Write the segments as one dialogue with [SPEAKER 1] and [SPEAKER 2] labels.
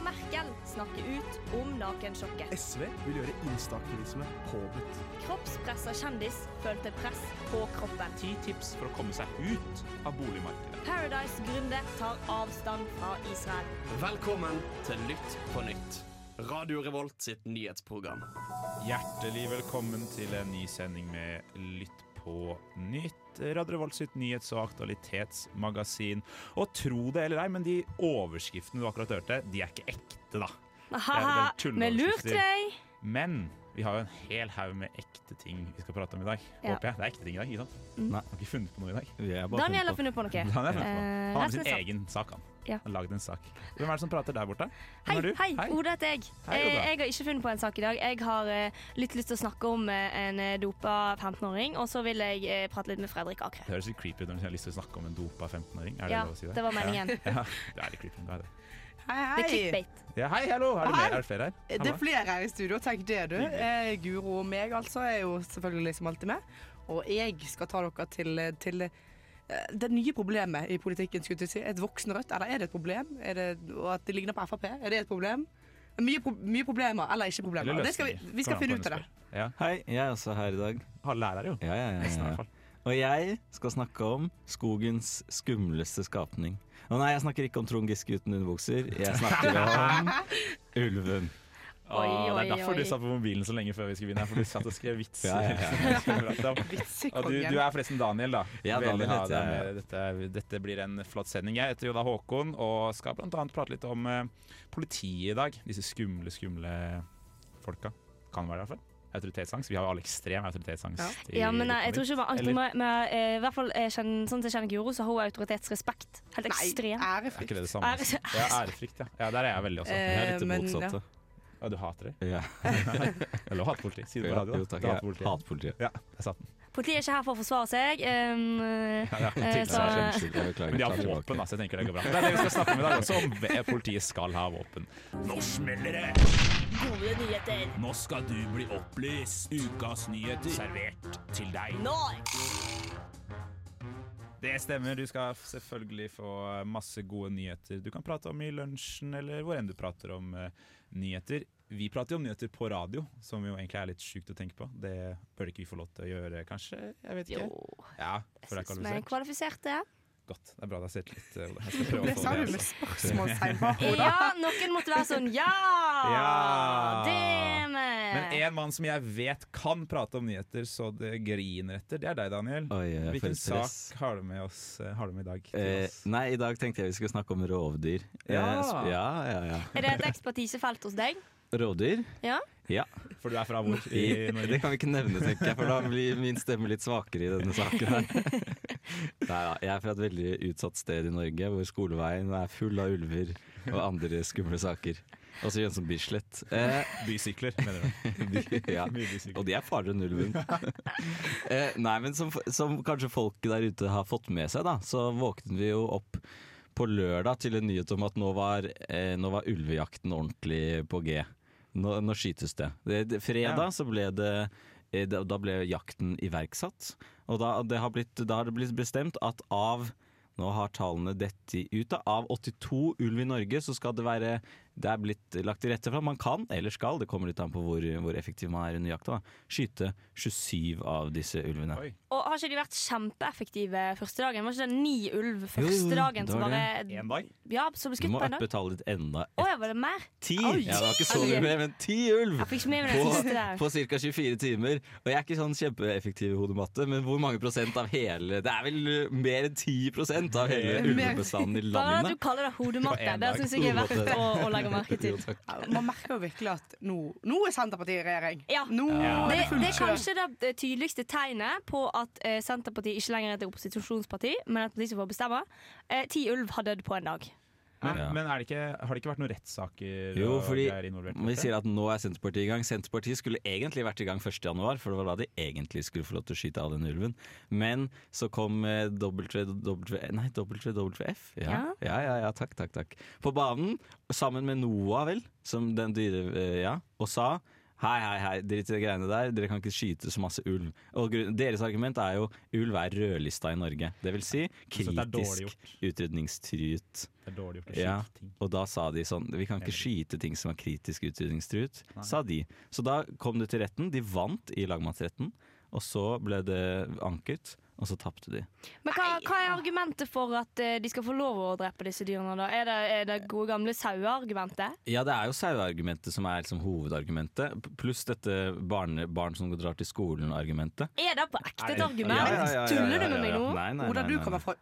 [SPEAKER 1] Merkel snakker ut om nakensjokket.
[SPEAKER 2] SV vil gjøre instaaktivisme påbudt.
[SPEAKER 1] Kroppspressa kjendis følte press på kroppen.
[SPEAKER 3] Ti tips for å komme seg ut av boligmarkedet.
[SPEAKER 1] Paradise-gründer tar avstand fra Israel.
[SPEAKER 4] Velkommen til Lytt på nytt. Radio Revolt sitt nyhetsprogram.
[SPEAKER 5] Hjertelig velkommen til en ny sending med Lytt på nytt. Radio Revolt sitt nyhets- og aktualitetsmagasin. Og tro det eller ei, men de overskriftene du akkurat hørte, de er ikke ekte, da.
[SPEAKER 1] Haha,
[SPEAKER 5] Det er vel
[SPEAKER 1] vi lurte
[SPEAKER 5] tulleoverskrifter.
[SPEAKER 1] deg!
[SPEAKER 5] Men vi har jo en hel haug med ekte ting vi skal prate om i dag.
[SPEAKER 1] Ja. Mm.
[SPEAKER 5] Håper jeg. Det er ekte ting i dag, ikke sant? Nei. Har ikke funnet på noe i dag.
[SPEAKER 6] Vi er bare
[SPEAKER 1] Daniel har
[SPEAKER 6] funnet
[SPEAKER 1] funnet på noe.
[SPEAKER 5] Han har, funnet på.
[SPEAKER 1] Eh,
[SPEAKER 5] han har
[SPEAKER 1] resten
[SPEAKER 5] sin
[SPEAKER 1] er sant.
[SPEAKER 5] egen sak, han.
[SPEAKER 1] Ja.
[SPEAKER 5] Han har laget en sak. Hvem er det som prater der borte? Hvem
[SPEAKER 1] Hei,
[SPEAKER 5] er du?
[SPEAKER 1] hei, Oda heter jeg.
[SPEAKER 5] Hei, Oda.
[SPEAKER 1] Eh, Jeg har ikke funnet på en sak i dag. Jeg har eh, litt lyst til å snakke om eh, en eh, dopa 15-åring, og så vil jeg eh, prate litt med Fredrik Akre.
[SPEAKER 5] Det høres litt creepy ut når du har lyst til å snakke om en dopa 15-åring. Er det
[SPEAKER 1] Ja,
[SPEAKER 5] lov å si det?
[SPEAKER 1] det var meningen.
[SPEAKER 5] Ja. Ja, det er litt creepy. Det er det.
[SPEAKER 1] Det
[SPEAKER 7] Hei,
[SPEAKER 1] er
[SPEAKER 7] hei.
[SPEAKER 1] clickbait.
[SPEAKER 5] Ja, hei, hallo! Er det,
[SPEAKER 7] Hei.
[SPEAKER 5] mer? er det flere her?
[SPEAKER 7] Det
[SPEAKER 5] Hallo.
[SPEAKER 7] er flere her i studio, tenk det du. Eh, Guro og meg altså er jo selvfølgelig som alltid med. Og jeg skal ta dere til, til eh, det nye problemet i politikken, skulle jeg til å si. Et voksende Rødt, eller er det et problem? Er det, og at det ligner på Frp, er det et problem? Mye, pro mye problemer, eller ikke problemer.
[SPEAKER 5] Eller
[SPEAKER 7] det skal vi,
[SPEAKER 5] løsninger,
[SPEAKER 7] vi skal
[SPEAKER 5] kommer
[SPEAKER 7] finne
[SPEAKER 5] an på
[SPEAKER 7] ut av det.
[SPEAKER 5] hvem du spør. Ja.
[SPEAKER 6] på. Hei, jeg er også her i dag.
[SPEAKER 5] Halve er her, jo.
[SPEAKER 6] Ja, ja, ja,
[SPEAKER 5] Nesten, i
[SPEAKER 6] ja,
[SPEAKER 5] hvert
[SPEAKER 6] ja.
[SPEAKER 5] fall.
[SPEAKER 6] Og jeg skal snakke om skogens skumleste skapning. Å nei, jeg snakker ikke om Trond Giske uten underbukser. Jeg snakker om ulven.
[SPEAKER 1] Oi,
[SPEAKER 5] Ah, det
[SPEAKER 1] oi,
[SPEAKER 5] er derfor
[SPEAKER 1] oi.
[SPEAKER 5] du satt på mobilen så lenge før vi skulle begynne. her, For du satt og skrev vitser.
[SPEAKER 6] Ja, ja,
[SPEAKER 5] Og du, du er forresten Daniel, da.
[SPEAKER 6] Ja,
[SPEAKER 5] Veldig
[SPEAKER 6] Daniel
[SPEAKER 5] ha
[SPEAKER 6] heter jeg,
[SPEAKER 5] deg med. Dette, dette blir en flott sending. Jeg heter jo da Håkon og skal bl.a. prate litt om eh, politiet i dag. Disse skumle, skumle folka. Kan være det, i hvert fall. Autoritetsangst. Vi har jo alle ekstrem autoritetsangst. i-
[SPEAKER 1] Ja, men eh, jeg tror ikke vi har angst på
[SPEAKER 5] Eller-
[SPEAKER 1] meg. men, eh, I hvert fall eh, kjenn- sånn som jeg kjenner Guro, så har hun autoritetsrespekt. Helt ekstrem.
[SPEAKER 7] Nei,
[SPEAKER 5] Er
[SPEAKER 7] ærefrykt.
[SPEAKER 5] ikke det det samme? altså?
[SPEAKER 1] Ære-
[SPEAKER 5] Ja, ærefrykt, ja. ja. Der er jeg veldig også.
[SPEAKER 6] Jeg er litt
[SPEAKER 7] Eh,
[SPEAKER 6] det
[SPEAKER 7] men,
[SPEAKER 6] motsatte.
[SPEAKER 1] Eh,
[SPEAKER 5] Ja, du hater det?
[SPEAKER 6] Ja.
[SPEAKER 5] Eller hater politiet. Si det på
[SPEAKER 6] Ja,
[SPEAKER 5] radio.
[SPEAKER 6] jo,
[SPEAKER 5] da.
[SPEAKER 6] takk.
[SPEAKER 5] Du hater
[SPEAKER 6] Jeg
[SPEAKER 5] politiet.
[SPEAKER 6] hater politiet.
[SPEAKER 5] Ja, der satt den.
[SPEAKER 1] Politiet er ikke her for å forsvare seg. Um,
[SPEAKER 5] Ja,
[SPEAKER 1] eh,
[SPEAKER 5] til-
[SPEAKER 1] så,
[SPEAKER 6] Nei, unnskyld, jeg beklager.
[SPEAKER 5] Men de har
[SPEAKER 6] Jeg tar tilbake.
[SPEAKER 5] våpen, da, så jeg tenker det går bra. Det er det vi skal snakke om i dag også, om ve- politiet skal ha våpen. Nå smeller det! Gode nyheter. Nå skal du bli opplyst. Ukas nyheter servert til deg. Det stemmer. Du skal f- selvfølgelig få masse gode nyheter du kan prate om i lunsjen, eller hvor enn du prater om eh, nyheter. Vi prater jo om nyheter på radio, som jo egentlig er litt sjukt å tenke på. Det bør ikke vi få lov til å gjøre, kanskje? Jeg vet ikke.
[SPEAKER 1] jo,
[SPEAKER 5] Ja, for det er
[SPEAKER 1] jeg syns vi er
[SPEAKER 5] kvalifisert.
[SPEAKER 1] kvalifiserte.
[SPEAKER 5] Godt. Det er bra det har sett litt eh, Jeg skal prøve
[SPEAKER 7] Det
[SPEAKER 5] å få
[SPEAKER 7] sa
[SPEAKER 5] det.
[SPEAKER 7] du med
[SPEAKER 5] altså.
[SPEAKER 7] spørsmålstegn på. Oda.
[SPEAKER 1] Ja, noen måtte være sånn Ja!
[SPEAKER 5] Ja.
[SPEAKER 1] Det er vi!
[SPEAKER 5] Men en mann som jeg vet kan prate om nyheter så det griner etter, det er deg, Daniel.
[SPEAKER 6] Oi, jeg
[SPEAKER 5] Hvilken
[SPEAKER 6] føler stress.
[SPEAKER 5] sak har du med oss eh, Har du med i dag? Til
[SPEAKER 6] Eh,
[SPEAKER 5] oss?
[SPEAKER 6] nei, i dag tenkte jeg vi skulle snakke om rovdyr. Eh,
[SPEAKER 5] Ja.
[SPEAKER 6] sp- ja, ja, ja.
[SPEAKER 1] Er det et ekspertisefelt hos deg?
[SPEAKER 6] Rovdyr?
[SPEAKER 1] Ja?
[SPEAKER 6] Ja.
[SPEAKER 5] For du er fra hvor i
[SPEAKER 6] I,
[SPEAKER 5] Norge?
[SPEAKER 6] det kan vi ikke nevne, tenker jeg, for da blir min stemme litt svakere i denne saken. her. Neida, jeg er fra et veldig utsatt sted i Norge, hvor skoleveien er full av ulver og andre skumle saker. Også Jønsson Bislett. Eh,
[SPEAKER 5] Bysykler, mener du.
[SPEAKER 6] de, ja.
[SPEAKER 5] Mye bysykler.
[SPEAKER 6] Og de er farligere enn ulven. Eh, nei, men som, som kanskje folk der ute har fått med seg, da, så våknet vi jo opp på lørdag til en nyhet om at nå var, eh, nå var ulvejakten ordentlig på G. Nå, nå skytes det. det, det fredag
[SPEAKER 5] Ja.
[SPEAKER 6] så ble det eh, da, da ble jakten iverksatt. Og da, det har blitt, da har det blitt bestemt at av nå har tallene dette ut. da. Av 82 ulv i Norge så skal det være Det er blitt lagt til rette for at man kan, eller skal, det kommer litt an på hvor, hvor effektiv man er under jakta, da, skyte 27 av disse ulvene.
[SPEAKER 5] Oi.
[SPEAKER 1] Og har ikke de vært kjempeeffektive første dagen? Var ikke det ni ulv
[SPEAKER 6] Jo,
[SPEAKER 1] første
[SPEAKER 6] jo,
[SPEAKER 1] dagen
[SPEAKER 6] det
[SPEAKER 1] som
[SPEAKER 6] var
[SPEAKER 1] bare
[SPEAKER 5] En dag?
[SPEAKER 1] Ja, som ble
[SPEAKER 6] Du
[SPEAKER 1] skutt
[SPEAKER 6] må
[SPEAKER 1] på en dag?
[SPEAKER 6] uppe tallet ditt enda
[SPEAKER 1] Å ja, var det mer?
[SPEAKER 6] Ti!
[SPEAKER 7] Oi,
[SPEAKER 6] ja, det var ikke så mye mer, men ti ulv!
[SPEAKER 1] Jeg fikk ikke med meg den siste
[SPEAKER 6] På,
[SPEAKER 1] der.
[SPEAKER 6] på ca. 24 timer. Og jeg er ikke sånn kjempeeffektiv i hodematte, men hvor mange prosent av hele Det er vel uh, mer enn 10 av hele
[SPEAKER 7] Mer-
[SPEAKER 6] ulvebestanden i
[SPEAKER 1] Bare at du
[SPEAKER 6] landet?
[SPEAKER 1] kaller det
[SPEAKER 5] På
[SPEAKER 1] hodematte.
[SPEAKER 5] en
[SPEAKER 1] Det
[SPEAKER 5] dag.
[SPEAKER 1] syns jeg er verdt
[SPEAKER 6] Hodematte.
[SPEAKER 1] å, å legge merke til.
[SPEAKER 6] Jo, takk.
[SPEAKER 7] Ja, Man merker jo virkelig at nå, nå er Senterpartiet i regjering.
[SPEAKER 1] Ja.
[SPEAKER 7] Nå
[SPEAKER 1] Det,
[SPEAKER 7] er det
[SPEAKER 1] det
[SPEAKER 7] fullt
[SPEAKER 1] er
[SPEAKER 7] kjør.
[SPEAKER 1] kanskje det tydeligste tegnet på at eh, Senterpartiet ikke lenger er et opposisjonsparti, men et parti som får bestemme. Eh, ti ulv har dødd på en dag.
[SPEAKER 5] Men,
[SPEAKER 6] Ja.
[SPEAKER 5] men er det ikke, har det ikke vært noen rettssaker
[SPEAKER 6] Jo,
[SPEAKER 5] og
[SPEAKER 6] fordi
[SPEAKER 5] greier involvert? i
[SPEAKER 6] vi
[SPEAKER 5] dette?
[SPEAKER 6] sier at nå er Senterpartiet i gang. Senterpartiet skulle egentlig vært i gang 1. januar, for det var da de egentlig skulle få lov til å skyte av den ulven. Men så kom eh, WW... Nei, WWF. Ja.
[SPEAKER 1] Ja.
[SPEAKER 6] Ja, ja, ja, takk, takk, takk. På banen, sammen med NOAH, vel, som den dyre... eh, Ja, og sa Hei, hei, hei, drit i de greiene der. Dere kan ikke skyte så masse ulv. Og grunn- deres argument er jo ulv er rødlista i Norge. Det vil si
[SPEAKER 5] Så Altså, det er dårlig
[SPEAKER 6] kritisk
[SPEAKER 5] gjort.
[SPEAKER 6] utrydningstruet.
[SPEAKER 5] Det er dårlig gjort å
[SPEAKER 6] Ja.
[SPEAKER 5] skyte ting.
[SPEAKER 6] Og da sa de sånn Vi kan ikke skyte ting som er kritisk utrydningstruet, sa de. Så da kom det til retten. De vant i lagmannsretten, og så ble det anket, og så tapte de.
[SPEAKER 1] Men hva, hva er argumentet for at eh, de skal få lov å drepe disse dyrene? da? Er det, er det gode gamle saueargumentet?
[SPEAKER 6] Ja, det er jo saueargumentet som er liksom hovedargumentet, p- pluss dette barne, barn som drar til skolen-argumentet.
[SPEAKER 1] Er det på ekte et argument?
[SPEAKER 6] Ja, ja, ja, ja, ja,
[SPEAKER 1] Tuller du
[SPEAKER 6] ja,
[SPEAKER 1] med meg
[SPEAKER 6] ja.
[SPEAKER 1] nå?
[SPEAKER 6] Nei, nei,
[SPEAKER 7] Oda,
[SPEAKER 6] nei,
[SPEAKER 7] du
[SPEAKER 6] nei,
[SPEAKER 7] kommer fra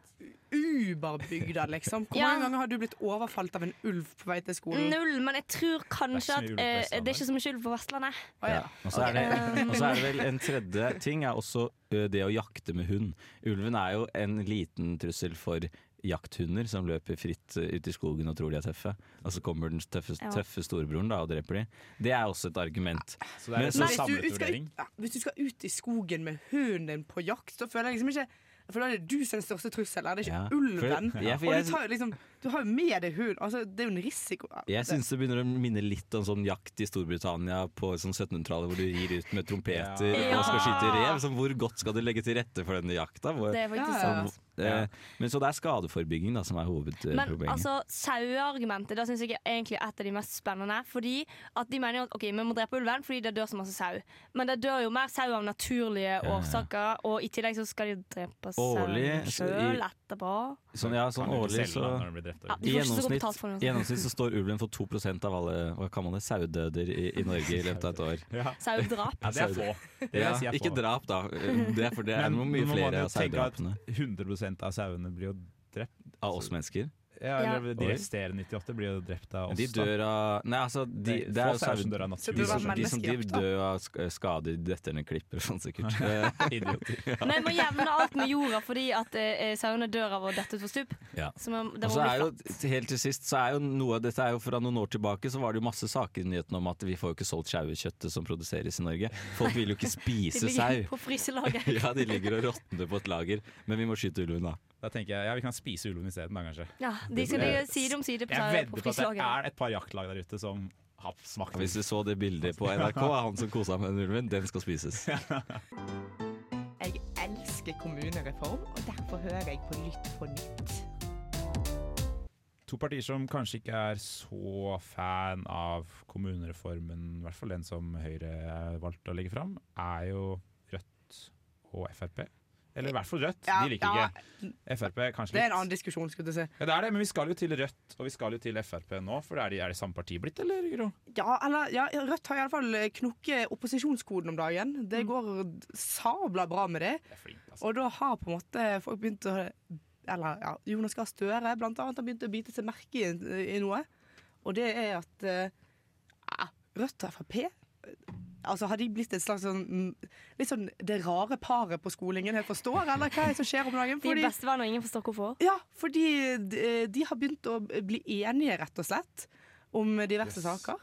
[SPEAKER 7] Uberbygda, liksom. Hvor
[SPEAKER 1] Ja.
[SPEAKER 7] mange ganger har du blitt overfalt av en ulv på vei til skolen?
[SPEAKER 1] Null, men jeg tror kanskje
[SPEAKER 5] Det er
[SPEAKER 1] at
[SPEAKER 5] ikke så mye ulv på
[SPEAKER 1] eh,
[SPEAKER 5] Vestlandet.
[SPEAKER 1] det er ikke så mye ulv på Vestlandet.
[SPEAKER 7] Å, ja.
[SPEAKER 6] Ja. Og så er, det- og så er det vel en tredje ting er også ø, det å jakte med hund. Ulven er jo en liten trussel for jakthunder som løper fritt ø, ut i skogen og tror de er tøffe. Og så kommer den tøffe,
[SPEAKER 1] Ja. Ah,
[SPEAKER 6] tøffe storebroren da og dreper de. Det er også et argument.
[SPEAKER 5] Så det
[SPEAKER 6] Men
[SPEAKER 5] er
[SPEAKER 6] så-
[SPEAKER 5] en sånn samlet
[SPEAKER 7] Hvis du- hvis du skal
[SPEAKER 5] vurdering.
[SPEAKER 7] ut- ja, Hvis du skal ut i skogen med hunden din på jakt, da føler jeg liksom ikke jeg føler det er du som er den største trusselen, det er ikke
[SPEAKER 6] Ja.
[SPEAKER 7] ulven.
[SPEAKER 6] For- ja, for
[SPEAKER 7] og
[SPEAKER 6] jeg-
[SPEAKER 7] du, tar jo liksom, du har jo med deg hund. Altså, det er jo en risiko.
[SPEAKER 6] Jeg syns det begynner å minne litt om sånn jakt i Storbritannia på sånn 1700-tallet, hvor du rir ut med trompeter
[SPEAKER 1] Ja.
[SPEAKER 6] og skal skyte rev. Sånn, hvor godt skal du legge til rette for denne jakta? Hvor,
[SPEAKER 1] Det er faktisk
[SPEAKER 7] Ja, ja.
[SPEAKER 1] sant.
[SPEAKER 6] Eh, Men så det er skadeforebygging da, som er hovedproblemet.
[SPEAKER 1] Men altså, saueargumentet det synes jeg er egentlig et av de mest spennende. Fordi at de mener jo at ok, vi må drepe ulven fordi det dør så masse sau. Men det dør jo mer sau av naturlige
[SPEAKER 6] ja.
[SPEAKER 1] årsaker, og i tillegg så skal de drepe
[SPEAKER 6] Årlig,
[SPEAKER 1] sauen
[SPEAKER 6] så
[SPEAKER 1] sjøl
[SPEAKER 6] i-
[SPEAKER 1] etterpå.
[SPEAKER 6] sånn, ja, sånn
[SPEAKER 5] Kan du ikke
[SPEAKER 6] årlig
[SPEAKER 5] selge
[SPEAKER 6] så
[SPEAKER 5] den når den blir drept,
[SPEAKER 1] Ja,
[SPEAKER 5] og-
[SPEAKER 1] de får ikke
[SPEAKER 6] i
[SPEAKER 1] så godt
[SPEAKER 6] gjennomsnitt,
[SPEAKER 1] betalt for
[SPEAKER 6] i
[SPEAKER 1] det.
[SPEAKER 6] gjennomsnitt så står ulven for 2 av alle hva kan man det, sauedøder i, i Norge i løpet av et år.
[SPEAKER 5] Ja.
[SPEAKER 1] Sauedrap.
[SPEAKER 5] Ja, det er få. Det vil
[SPEAKER 6] Ja,
[SPEAKER 5] jeg si er
[SPEAKER 6] ikke
[SPEAKER 5] få.
[SPEAKER 6] drap, da. Det er for det er
[SPEAKER 5] Men
[SPEAKER 6] noe mye
[SPEAKER 5] nå må man
[SPEAKER 6] flere
[SPEAKER 5] jo
[SPEAKER 6] av
[SPEAKER 5] tenke at Altså,
[SPEAKER 6] sauedrapene.
[SPEAKER 5] 100 av sauene blir jo drept.
[SPEAKER 6] Av oss mennesker.
[SPEAKER 5] Ja,
[SPEAKER 1] Ja.
[SPEAKER 5] eller De
[SPEAKER 6] Oi.
[SPEAKER 5] resterende 98 blir jo drept av oss.
[SPEAKER 6] De
[SPEAKER 5] da.
[SPEAKER 6] dør av Nei, altså de,
[SPEAKER 5] Det er
[SPEAKER 6] det er
[SPEAKER 5] få sauer
[SPEAKER 6] jo
[SPEAKER 5] som
[SPEAKER 6] saued-
[SPEAKER 5] dør av naturlig
[SPEAKER 7] Det
[SPEAKER 6] De
[SPEAKER 7] bør være
[SPEAKER 6] som, de som de
[SPEAKER 7] menneskejakt, da.
[SPEAKER 6] dør av sk- skader detterne klipper og sånn, sikkert. Eh,
[SPEAKER 5] Idioter.
[SPEAKER 1] Men vi må jevne alt med jorda fordi at eh, sauene dør av å dette utfor stup.
[SPEAKER 6] Ja.
[SPEAKER 1] Så man, det
[SPEAKER 6] Og
[SPEAKER 1] må
[SPEAKER 6] så
[SPEAKER 1] bli
[SPEAKER 6] er jo,
[SPEAKER 1] flatt.
[SPEAKER 6] til- helt til sist, så er jo noe Dette er jo fra noen år tilbake, så var det jo masse saker i nyhetene om at vi får jo ikke solgt sauekjøttet som produseres i Norge. Folk vil jo
[SPEAKER 1] De
[SPEAKER 6] ikke spise
[SPEAKER 1] ligger
[SPEAKER 6] sau.
[SPEAKER 1] på fryselaget.
[SPEAKER 6] Ja, de ligger og råtner på et lager, men vi må skyte ulven, da.
[SPEAKER 5] Da tenker jeg ja, vi kan spise ulven isteden, da kanskje.
[SPEAKER 1] Ja, de skal ligge
[SPEAKER 6] Eh,
[SPEAKER 1] side om side på,
[SPEAKER 5] Jeg
[SPEAKER 1] sau- på
[SPEAKER 5] vedder på at det
[SPEAKER 1] fryselaget.
[SPEAKER 5] er et par jaktlag der ute som har smakt
[SPEAKER 6] Hvis du så det bildet på NRK av han som kosa med den ulven, den skal spises.
[SPEAKER 8] Jeg elsker kommunereform, og derfor hører jeg på Lytt på nytt.
[SPEAKER 5] To partier som kanskje ikke er så fan av kommunereformen, i hvert fall den som Høyre valgte å legge fram, er jo Rødt og Frp. Eller i hvert fall Rødt,
[SPEAKER 7] Ja,
[SPEAKER 5] de liker
[SPEAKER 7] ja.
[SPEAKER 5] ikke Frp kanskje
[SPEAKER 7] Det er en
[SPEAKER 5] litt.
[SPEAKER 7] annen diskusjon, skulle jeg til å si.
[SPEAKER 5] Ja, det er det, men vi skal jo til Rødt og vi skal jo til Frp nå, for er de, er de samme parti blitt, eller? Gro?
[SPEAKER 7] Ja, eller, ja, Rødt har iallfall knukket opposisjonskoden om dagen. Det går sabla bra med det.
[SPEAKER 5] Det er flink, altså.
[SPEAKER 7] Og da har på en måte folk begynt å Eller ja, Jonas Gahr Støre blant annet har begynt å bite seg merke i, i noe. Og det er at eh, ah, Rødt og Frp eh, Altså Har de blitt et slags sånn mm, Litt sånn det rare paret på skolen ingen helt forstår, eller hva er det som skjer om dagen?
[SPEAKER 1] De er
[SPEAKER 7] Fordi-
[SPEAKER 1] bestevenner, og ingen forstår hvorfor.
[SPEAKER 7] ja, fordi de, de har begynt å bli enige, rett og slett, om diverse saker.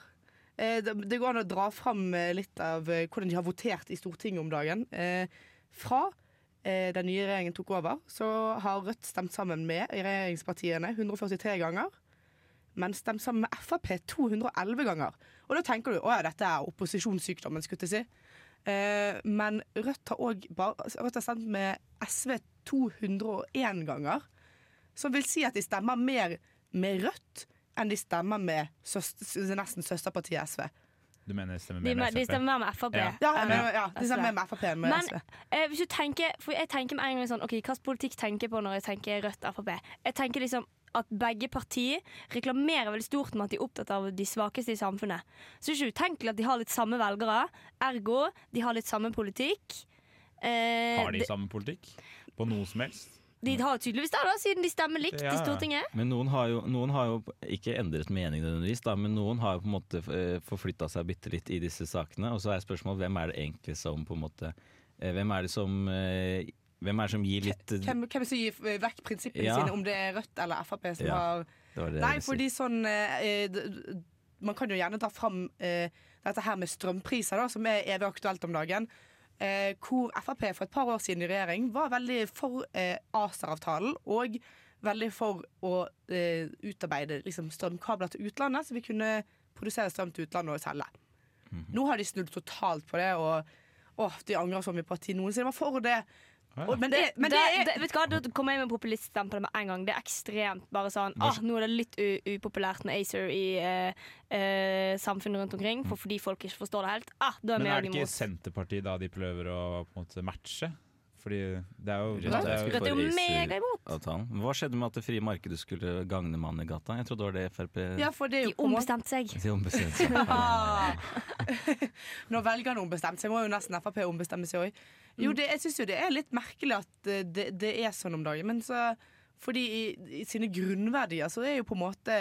[SPEAKER 7] Eh, Det, det går an å dra fram eh, litt av eh, hvordan de har votert i Stortinget om dagen. Eh, Fra eh, den nye regjeringen tok over, så har Rødt stemt sammen med regjeringspartiene 143 ganger. Men stemt sammen med Frp 211 ganger. Og da tenker du å ja, dette er opposisjonssykdommen, skulle jeg si. Eh, Men Rødt har, også, bare- Rødt har stemt med SV 201 ganger. Som vil si at de stemmer mer med Rødt enn de stemmer med søster, nesten søsterpartiet SV.
[SPEAKER 5] Du mener stemmer
[SPEAKER 1] De,
[SPEAKER 5] mer med
[SPEAKER 1] de
[SPEAKER 5] Frp?
[SPEAKER 1] stemmer mer med Frp.
[SPEAKER 5] Ja.
[SPEAKER 7] Ja,
[SPEAKER 1] enn-
[SPEAKER 7] men, ja de stemmer mer med Frp enn med
[SPEAKER 1] Men
[SPEAKER 7] SV.
[SPEAKER 1] eh, hvis du tenker, for jeg tenker med en gang sånn Ok, hva slags politikk tenker jeg på når jeg tenker Rødt Frp? Jeg tenker liksom at begge partier reklamerer veldig stort med at de er opptatt av de svakeste i samfunnet. Så det er ikke utenkelig at de har litt samme velgere. Ergo, de har litt samme politikk. Eh,
[SPEAKER 5] Har de samme politikk? På noe som helst?
[SPEAKER 1] de, de har tydeligvis det, da, siden de stemmer likt
[SPEAKER 5] Ja, ja.
[SPEAKER 1] i Stortinget.
[SPEAKER 6] Men noen har jo, noen har jo ikke endret mening nødvendigvis, da, men noen har jo på en måte forflytta seg bitte litt i disse sakene. Og så er spørsmålet hvem er det egentlig som på en måte eh, Hvem er det som eh, Hvem er det som gir litt eh,
[SPEAKER 7] Hvem, hvem som gir eh, vekk prinsippene
[SPEAKER 6] Ja.
[SPEAKER 7] sine, om det er Rødt eller Frp som
[SPEAKER 6] Ja,
[SPEAKER 7] har
[SPEAKER 6] det var det jeg
[SPEAKER 7] Nei,
[SPEAKER 6] ville si.
[SPEAKER 7] fordi sånn eh, eh, d- d- Man kan jo gjerne ta fram eh, dette her med strømpriser, da, som er evig aktuelt om dagen. Eh, hvor Frp for et par år siden i regjering var veldig for eh, ACER-avtalen og veldig for å eh, utarbeide liksom, strømkabler til utlandet, så vi kunne produsere strøm til utlandet og selge.
[SPEAKER 6] Mhm.
[SPEAKER 7] Nå har de snudd totalt på det, og åh, de angrer så mye på at de noensinne var for det. Og, men det, men det
[SPEAKER 1] Da-
[SPEAKER 7] er
[SPEAKER 1] da- vet du hva, Da kommer jeg med populiststempel med en gang. Det er ekstremt bare sånn ah, Nå er det litt u upopulært med ACER i eh, eh, samfunnet rundt omkring, for fordi folk ikke forstår det helt. Ah, da er vi
[SPEAKER 5] Mm. Men er
[SPEAKER 1] også
[SPEAKER 5] det ikke
[SPEAKER 1] imot.
[SPEAKER 5] Senterpartiet da de prøver å på en måte matche? Fordi det er jo,
[SPEAKER 6] Rødt er
[SPEAKER 5] det er jo
[SPEAKER 1] Rødt er jo
[SPEAKER 6] for ACER.
[SPEAKER 1] mega imot.
[SPEAKER 6] Avtalen. Hva skjedde med at det frie markedet skulle gagne mannen i gata? Jeg trodde det var det Frp
[SPEAKER 7] Ja, for det er
[SPEAKER 1] De
[SPEAKER 7] jo på en måte-
[SPEAKER 1] ombestemte seg.
[SPEAKER 6] De ombestemte seg.
[SPEAKER 7] Ah. Når velgerne ombestemmer seg, må jo nesten Frp ombestemme seg òg. Jo,
[SPEAKER 1] Mm.
[SPEAKER 7] det, jeg syns jo det er litt merkelig at eh, det, det er sånn om dagen, men så Fordi i, i sine grunnverdier så er jo på en måte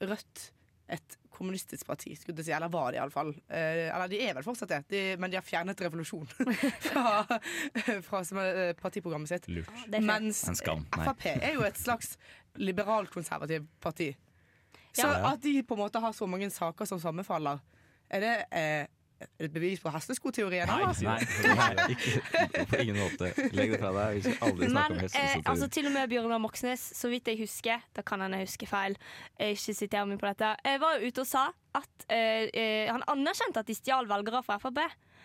[SPEAKER 7] Rødt et kommunistisk parti, skulle jeg si. Eller var det iallfall. Eh, eller de er vel fortsatt det, de, men de har fjernet revolusjon fra, fra som, eh, partiprogrammet sitt.
[SPEAKER 5] lurt.
[SPEAKER 1] Det er fint.
[SPEAKER 7] Mens
[SPEAKER 6] En skam, nei.
[SPEAKER 7] Frp er jo et slags liberalkonservativt parti. Så
[SPEAKER 1] Ja.
[SPEAKER 7] at de på en måte har så mange saker som sammenfaller, er det eh, er det et bevis på hesteskoteorien? altså?
[SPEAKER 5] Nei,
[SPEAKER 7] eller?
[SPEAKER 5] ikke si
[SPEAKER 6] Nei,
[SPEAKER 5] det.
[SPEAKER 6] nei, ikke på ingen måte. Legg det fra deg. Vi skal aldri snakke
[SPEAKER 1] Men
[SPEAKER 6] om hest.
[SPEAKER 1] eh,
[SPEAKER 6] så
[SPEAKER 1] altså,
[SPEAKER 6] til-
[SPEAKER 1] til og med Bjørnar Moxnes, så vidt jeg husker Da kan hende jeg husker feil. Jeg ikke siterer meg på dette. Jeg var jo ute og sa at eh, eh, han anerkjente at de stjal velgere fra Frp.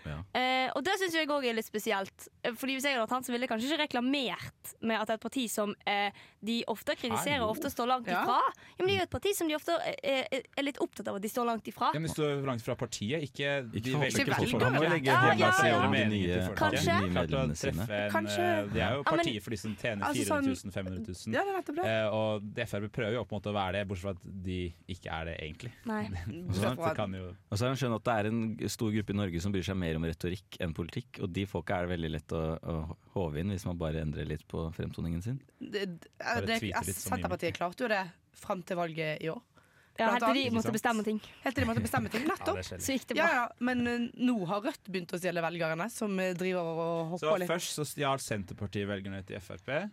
[SPEAKER 6] Ja.
[SPEAKER 1] Eh, og det syns jeg òg er litt spesielt. Eh, Fordi Hvis jeg hadde vært han, så ville jeg kanskje ikke reklamert med at et parti som eh, de ofte kritiserer og ofte står langt
[SPEAKER 7] Ja.
[SPEAKER 1] ifra ja, men Det er jo et parti som de ofte eh, eh, er litt opptatt av at de står langt ifra.
[SPEAKER 5] Ja, men det står langt fra partiet, ikke de
[SPEAKER 6] Ikke folk-
[SPEAKER 5] velgerne.
[SPEAKER 7] ikke
[SPEAKER 6] folk-
[SPEAKER 7] velgere.
[SPEAKER 6] Han må legge
[SPEAKER 1] Ja,
[SPEAKER 6] hendene
[SPEAKER 1] ja,
[SPEAKER 6] sine
[SPEAKER 1] ja.
[SPEAKER 6] om de
[SPEAKER 5] Meningen til
[SPEAKER 6] nye,
[SPEAKER 5] folk.
[SPEAKER 1] Kanskje.
[SPEAKER 6] de
[SPEAKER 5] Klart
[SPEAKER 6] nye
[SPEAKER 5] å
[SPEAKER 6] medlemmene sine.
[SPEAKER 5] treffe en,
[SPEAKER 7] Kanskje.
[SPEAKER 5] eh, Det er jo
[SPEAKER 1] Ja, men-
[SPEAKER 5] partiet for de som tjener
[SPEAKER 7] Altså, sånn-
[SPEAKER 5] 400 000, 500 000.
[SPEAKER 7] Ja, det er nettopp det.
[SPEAKER 5] Eh, og det Frp prøver jo på en måte å være det, bortsett fra at de ikke er det egentlig.
[SPEAKER 1] Nei.
[SPEAKER 7] Bortsett
[SPEAKER 5] Så
[SPEAKER 7] fra at-
[SPEAKER 5] kan jo
[SPEAKER 6] Og så er det skjønn at det er en stor gruppe i Norge som bryr seg mer om retorikk enn politikk, og de folka er det veldig lett å, å håve inn hvis man bare endrer litt på fremtoningen sin.
[SPEAKER 7] det, eh, det,
[SPEAKER 5] tweete litt som
[SPEAKER 7] Senterpartiet klarte jo det fram til valget i år.
[SPEAKER 1] Ja, Helt
[SPEAKER 7] Blant
[SPEAKER 1] til de
[SPEAKER 7] annet,
[SPEAKER 1] måtte
[SPEAKER 5] ikke
[SPEAKER 1] bestemme
[SPEAKER 5] sant?
[SPEAKER 1] ting.
[SPEAKER 7] Helt til de måtte bestemme ting.
[SPEAKER 5] ja, det
[SPEAKER 7] Nettopp.
[SPEAKER 5] er skjellig.
[SPEAKER 1] Så gikk det
[SPEAKER 7] Ja,
[SPEAKER 1] bra.
[SPEAKER 7] ja, Men eh, nå har Rødt begynt å stjele velgerne, som eh, driver og
[SPEAKER 5] Så
[SPEAKER 7] hopper litt.
[SPEAKER 5] først så stjal Senterpartiet velgerne til Frp.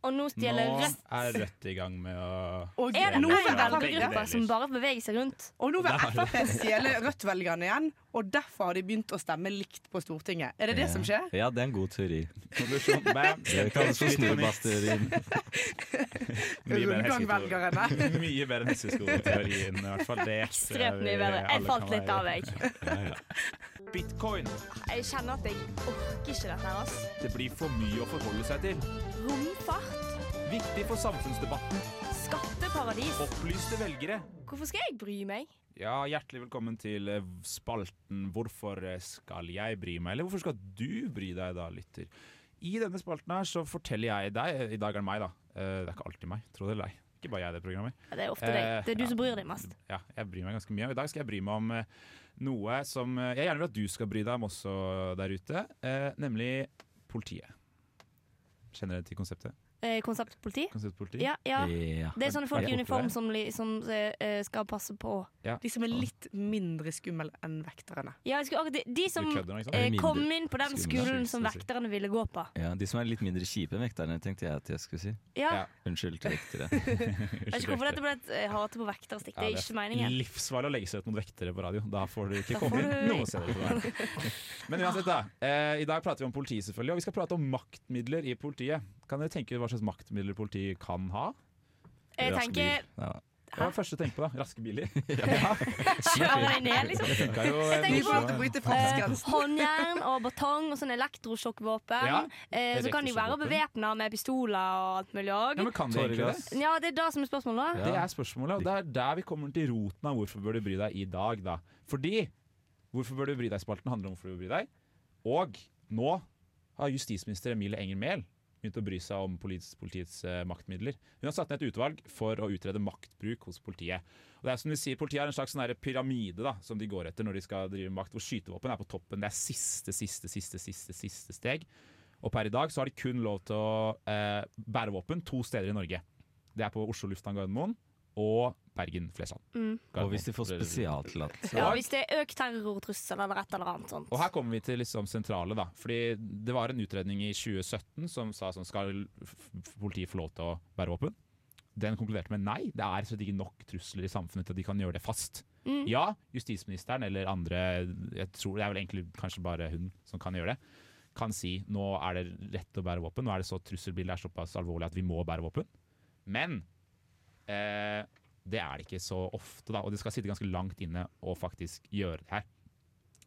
[SPEAKER 1] Og nå
[SPEAKER 5] Nå
[SPEAKER 1] stjeler Rødt.
[SPEAKER 5] er Rødt i gang med å
[SPEAKER 7] Og
[SPEAKER 1] Er det
[SPEAKER 7] nå
[SPEAKER 1] noen
[SPEAKER 7] vil
[SPEAKER 1] velgergrupper
[SPEAKER 7] velgerne-
[SPEAKER 1] som bare beveger seg rundt?
[SPEAKER 7] og nå vil Frp stjele Rødt-velgerne igjen, og derfor har de begynt å stemme likt på Stortinget. Er det det som skjer?
[SPEAKER 6] Eh, Ja, det er en god teori.
[SPEAKER 5] Konklusjon, bam,
[SPEAKER 6] Det kalles for snurrebassteorien.
[SPEAKER 5] Mye bedre
[SPEAKER 7] Rundgang
[SPEAKER 5] hestesko-
[SPEAKER 7] velgerne.
[SPEAKER 5] Mye bedre enn hesteskoteorien, i hvert fall. Det tror jeg
[SPEAKER 1] Ekstremt
[SPEAKER 5] vi
[SPEAKER 1] mye bedre.
[SPEAKER 5] alle
[SPEAKER 1] Jeg
[SPEAKER 5] kan
[SPEAKER 1] falt litt
[SPEAKER 5] være-
[SPEAKER 1] av, jeg.
[SPEAKER 3] Bitcoin.
[SPEAKER 1] Jeg kjenner at jeg orker ikke dette her, ass.
[SPEAKER 3] Det blir for mye å forholde seg til.
[SPEAKER 1] Romfart,
[SPEAKER 3] Viktig for samfunnsdebatten.
[SPEAKER 1] skatteparadis.
[SPEAKER 3] Opplyste velgere.
[SPEAKER 1] Hvorfor skal jeg bry meg?
[SPEAKER 5] Ja, Hjertelig velkommen til eh, spalten 'Hvorfor eh, skal jeg bry meg?' Eller hvorfor skal du bry deg da, lytter? I denne spalten her så forteller jeg deg I dag er det meg, da. Eh, Det er ikke alltid meg, tro det eller ei. Ikke bare jeg i det programmet.
[SPEAKER 1] Det er ofte deg.
[SPEAKER 5] Eh,
[SPEAKER 1] Det er du
[SPEAKER 5] ja.
[SPEAKER 1] som bryr deg mest.
[SPEAKER 5] Ja, jeg bryr meg ganske mye. Og i dag skal jeg bry meg om eh, noe som eh, jeg gjerne vil at du skal bry deg om også der ute, eh, nemlig politiet. Kjenner dere til konseptet?
[SPEAKER 1] Eh, konsept politi?
[SPEAKER 5] Konseptpoliti?
[SPEAKER 1] Ja, ja.
[SPEAKER 5] Eh,
[SPEAKER 6] Ja.
[SPEAKER 1] Det er sånne folk i
[SPEAKER 5] Jeg håper
[SPEAKER 1] uniform
[SPEAKER 5] det.
[SPEAKER 1] som, li- som eh, skal passe på.
[SPEAKER 7] De som er litt mindre skumle enn vekterne.
[SPEAKER 1] Ja, jeg skulle, akkurat- de, de
[SPEAKER 5] Du
[SPEAKER 1] som
[SPEAKER 5] kødder nå, ikke sant?
[SPEAKER 1] eh, kom
[SPEAKER 6] Mindre
[SPEAKER 1] inn på den
[SPEAKER 6] skumle.
[SPEAKER 1] skolen som
[SPEAKER 5] Sjukt,
[SPEAKER 1] vekterne ville gå på.
[SPEAKER 6] Ja, de som er litt mindre kjipe enn vekterne, tenkte jeg at jeg skulle si.
[SPEAKER 1] Ja,
[SPEAKER 5] Ja.
[SPEAKER 6] Unnskyld til vektere.
[SPEAKER 1] Jeg vet ikke hvorfor dette ble et eh, hate på vekterstikk. Det
[SPEAKER 5] Ja,
[SPEAKER 1] er ikke meningen.
[SPEAKER 5] Livsfarlig å legge seg ut mot vektere på radio. Da får du ikke
[SPEAKER 1] Da
[SPEAKER 5] komme
[SPEAKER 1] får
[SPEAKER 5] inn
[SPEAKER 1] du-
[SPEAKER 5] noen steder. tror jeg. Men uansett, da. Eh, I dag prater vi om politi, selvfølgelig. Og vi skal prate om maktmidler i politiet. Kan dere tenke hva slags maktmidler politiet kan ha?
[SPEAKER 1] Jeg
[SPEAKER 6] Raske
[SPEAKER 1] tenker
[SPEAKER 6] bil. Ja.
[SPEAKER 5] Hva var det første du tenkte på? da? Raske biler?
[SPEAKER 1] kjør deg ned, liksom.
[SPEAKER 5] Det funka jo. eh,
[SPEAKER 1] tenker
[SPEAKER 7] Vi
[SPEAKER 1] på-
[SPEAKER 5] Oslo,
[SPEAKER 7] måtte
[SPEAKER 5] eh,
[SPEAKER 7] bryte
[SPEAKER 1] Eh,
[SPEAKER 7] fartsgrensen.
[SPEAKER 1] håndjern og batong og sånn elektrosjokkvåpen.
[SPEAKER 5] Ja,
[SPEAKER 1] eh, så kan de jo være
[SPEAKER 5] elektrosjokkvåpen.
[SPEAKER 1] bevæpna med pistoler og alt mulig òg.
[SPEAKER 5] Ja, men kan de egentlig det?
[SPEAKER 6] Tåregass.
[SPEAKER 1] Ja, det er det som er spørsmålet. da.
[SPEAKER 5] Det er spørsmålet, og det er der vi kommer til roten av hvorfor bør du bry deg i dag, da. Fordi Hvorfor bør du bry deg-spalten handler om hvorfor du bør bry deg. Og nå har justisminister Emilie Enger Mehl begynt å bry seg om politiets, politiets eh, maktmidler. Hun har satt ned et utvalg for å utrede maktbruk hos politiet. Og det er som de sier, Politiet har en slags sånn her pyramide da, som de går etter når de skal drive makt, hvor skytevåpen er på toppen. Det er siste, siste, siste, siste, siste steg. Og per i dag så har de kun lov til å eh, bære våpen to steder i Norge. Det er på Oslo lufthavn Gardermoen og Bergen Flesland.
[SPEAKER 1] Mm.
[SPEAKER 6] Og hvis de får spesialtillatelse.
[SPEAKER 1] Ja, hvis det er økt terrortrussel eller et eller annet sånt.
[SPEAKER 5] Og her kommer vi til liksom sentrale, da. Fordi det var en utredning i 2017 som sa sånn Skal f- f- politiet få lov til å bære våpen? Den konkluderte med nei, det er slett ikke nok trusler i samfunnet til at de kan gjøre det fast.
[SPEAKER 1] Mm.
[SPEAKER 5] Ja, justisministeren eller andre, jeg tror det er vel egentlig kanskje bare hun som kan gjøre det, kan si nå er det rett å bære våpen, nå er det så trusselbildet er såpass alvorlig at vi må bære våpen. Men eh, det er det ikke så ofte, da. Og det skal sitte ganske langt inne å faktisk gjøre det her.